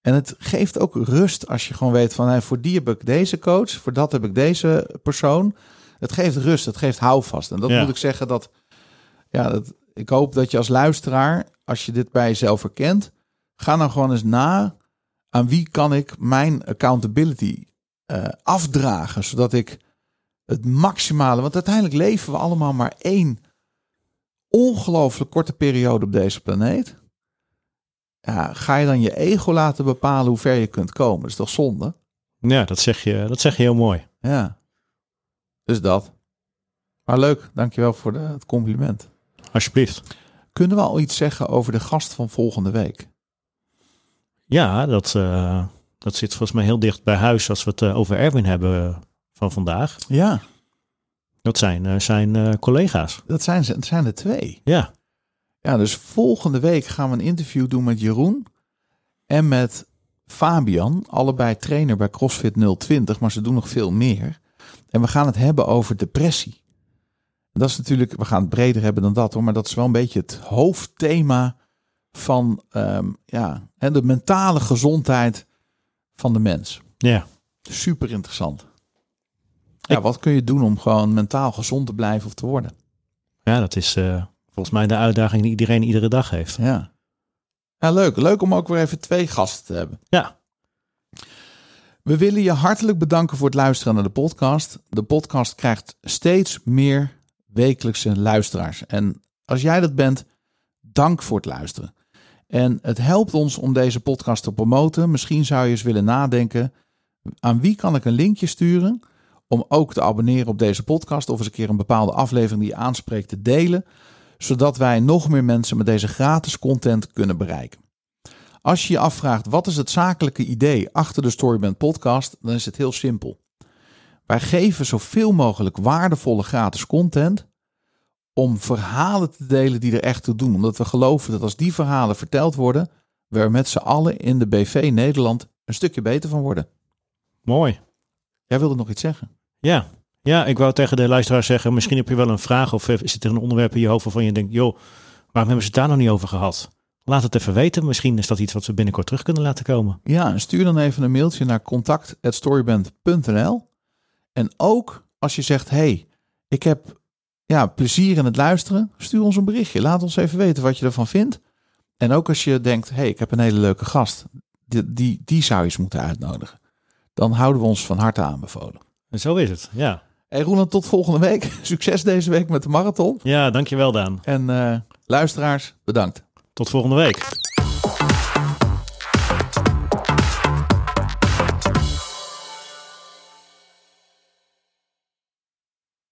Speaker 1: En het geeft ook rust als je gewoon weet van hé, voor die heb ik deze coach, voor dat heb ik deze persoon. Het geeft rust, het geeft houvast. En dat
Speaker 3: Ja.
Speaker 1: moet ik zeggen dat, ja, dat ik hoop dat je als luisteraar, als je dit bij jezelf herkent, ga nou gewoon eens na aan wie kan ik mijn accountability eh, afdragen, zodat ik het maximale, want uiteindelijk leven we allemaal maar één ongelooflijk korte periode op deze planeet. Ja, ga je dan je ego laten bepalen hoe ver je kunt komen? Dat is toch zonde?
Speaker 3: ja, dat zeg je, dat zeg je heel mooi.
Speaker 1: Ja. Dus dat. Maar leuk, dankjewel voor de- het compliment.
Speaker 3: Alsjeblieft.
Speaker 1: Kunnen we al iets zeggen over de gast van volgende week?
Speaker 3: Ja, dat, eh, dat zit volgens mij heel dicht bij huis als we het eh, over Erwin hebben eh, van vandaag.
Speaker 1: Ja,
Speaker 3: Dat zijn eh, zijn eh, collega's.
Speaker 1: dat zijn, ze, het zijn er twee.
Speaker 3: Ja,
Speaker 1: Ja, dus volgende week gaan we een interview doen met Jeroen en met Fabian, allebei trainer bij CrossFit 020, maar ze doen nog veel meer. En we gaan het hebben over depressie. Dat is natuurlijk, we gaan het breder hebben dan dat hoor, maar dat is wel een beetje het hoofdthema van ehm, ja, hè, de mentale gezondheid van de mens.
Speaker 3: ja.
Speaker 1: Super interessant. Ja,
Speaker 3: Ik-
Speaker 1: wat kun je doen om gewoon mentaal gezond te blijven of te worden?
Speaker 3: ja dat is eh, volgens mij de uitdaging die iedereen iedere dag heeft.
Speaker 1: Ja. ja, leuk. Leuk om ook weer even twee gasten te hebben.
Speaker 3: Ja,
Speaker 1: We willen je hartelijk bedanken voor het luisteren naar de podcast. De podcast krijgt steeds meer wekelijkse luisteraars. En als jij dat bent, dank voor het luisteren. En het helpt ons om deze podcast te promoten. Misschien zou je eens willen nadenken: aan wie kan ik een linkje sturen om ook te abonneren op deze podcast of eens een keer een bepaalde aflevering die je aanspreekt te delen, zodat wij nog meer mensen met deze gratis content kunnen bereiken. Als je je afvraagt wat is het zakelijke idee achter de Storyband podcast, dan is het heel simpel. Wij geven zoveel mogelijk waardevolle gratis content om verhalen te delen die er echt toe doen. Omdat we geloven dat als die verhalen verteld worden, we er met z'n allen in de BV Nederland een stukje beter van worden.
Speaker 3: mooi.
Speaker 1: Jij wilde nog iets zeggen?
Speaker 3: Ja. ja, ik wou tegen de luisteraar zeggen, misschien heb je wel een vraag of eh, zit er een onderwerp in je hoofd waarvan je denkt, joh, waarom hebben ze het daar nog nou niet over gehad? Laat het even weten. Misschien is dat iets wat we binnenkort terug kunnen laten komen.
Speaker 1: Ja, en stuur dan even een mailtje naar contact.storyband.nl. En ook als je zegt, hey, ik heb ja, plezier in het luisteren, stuur ons een berichtje. Laat ons even weten wat je ervan vindt. En ook als je denkt, hey, ik heb een hele leuke gast. Die, die, die zou je eens moeten uitnodigen. Dan houden we ons van harte aanbevolen.
Speaker 3: En zo is het. Ja,
Speaker 1: Hey Roland, tot volgende week. [LAUGHS] Succes deze week met de marathon.
Speaker 3: ja dankjewel Daan.
Speaker 1: En eh, luisteraars, bedankt.
Speaker 3: Tot volgende week.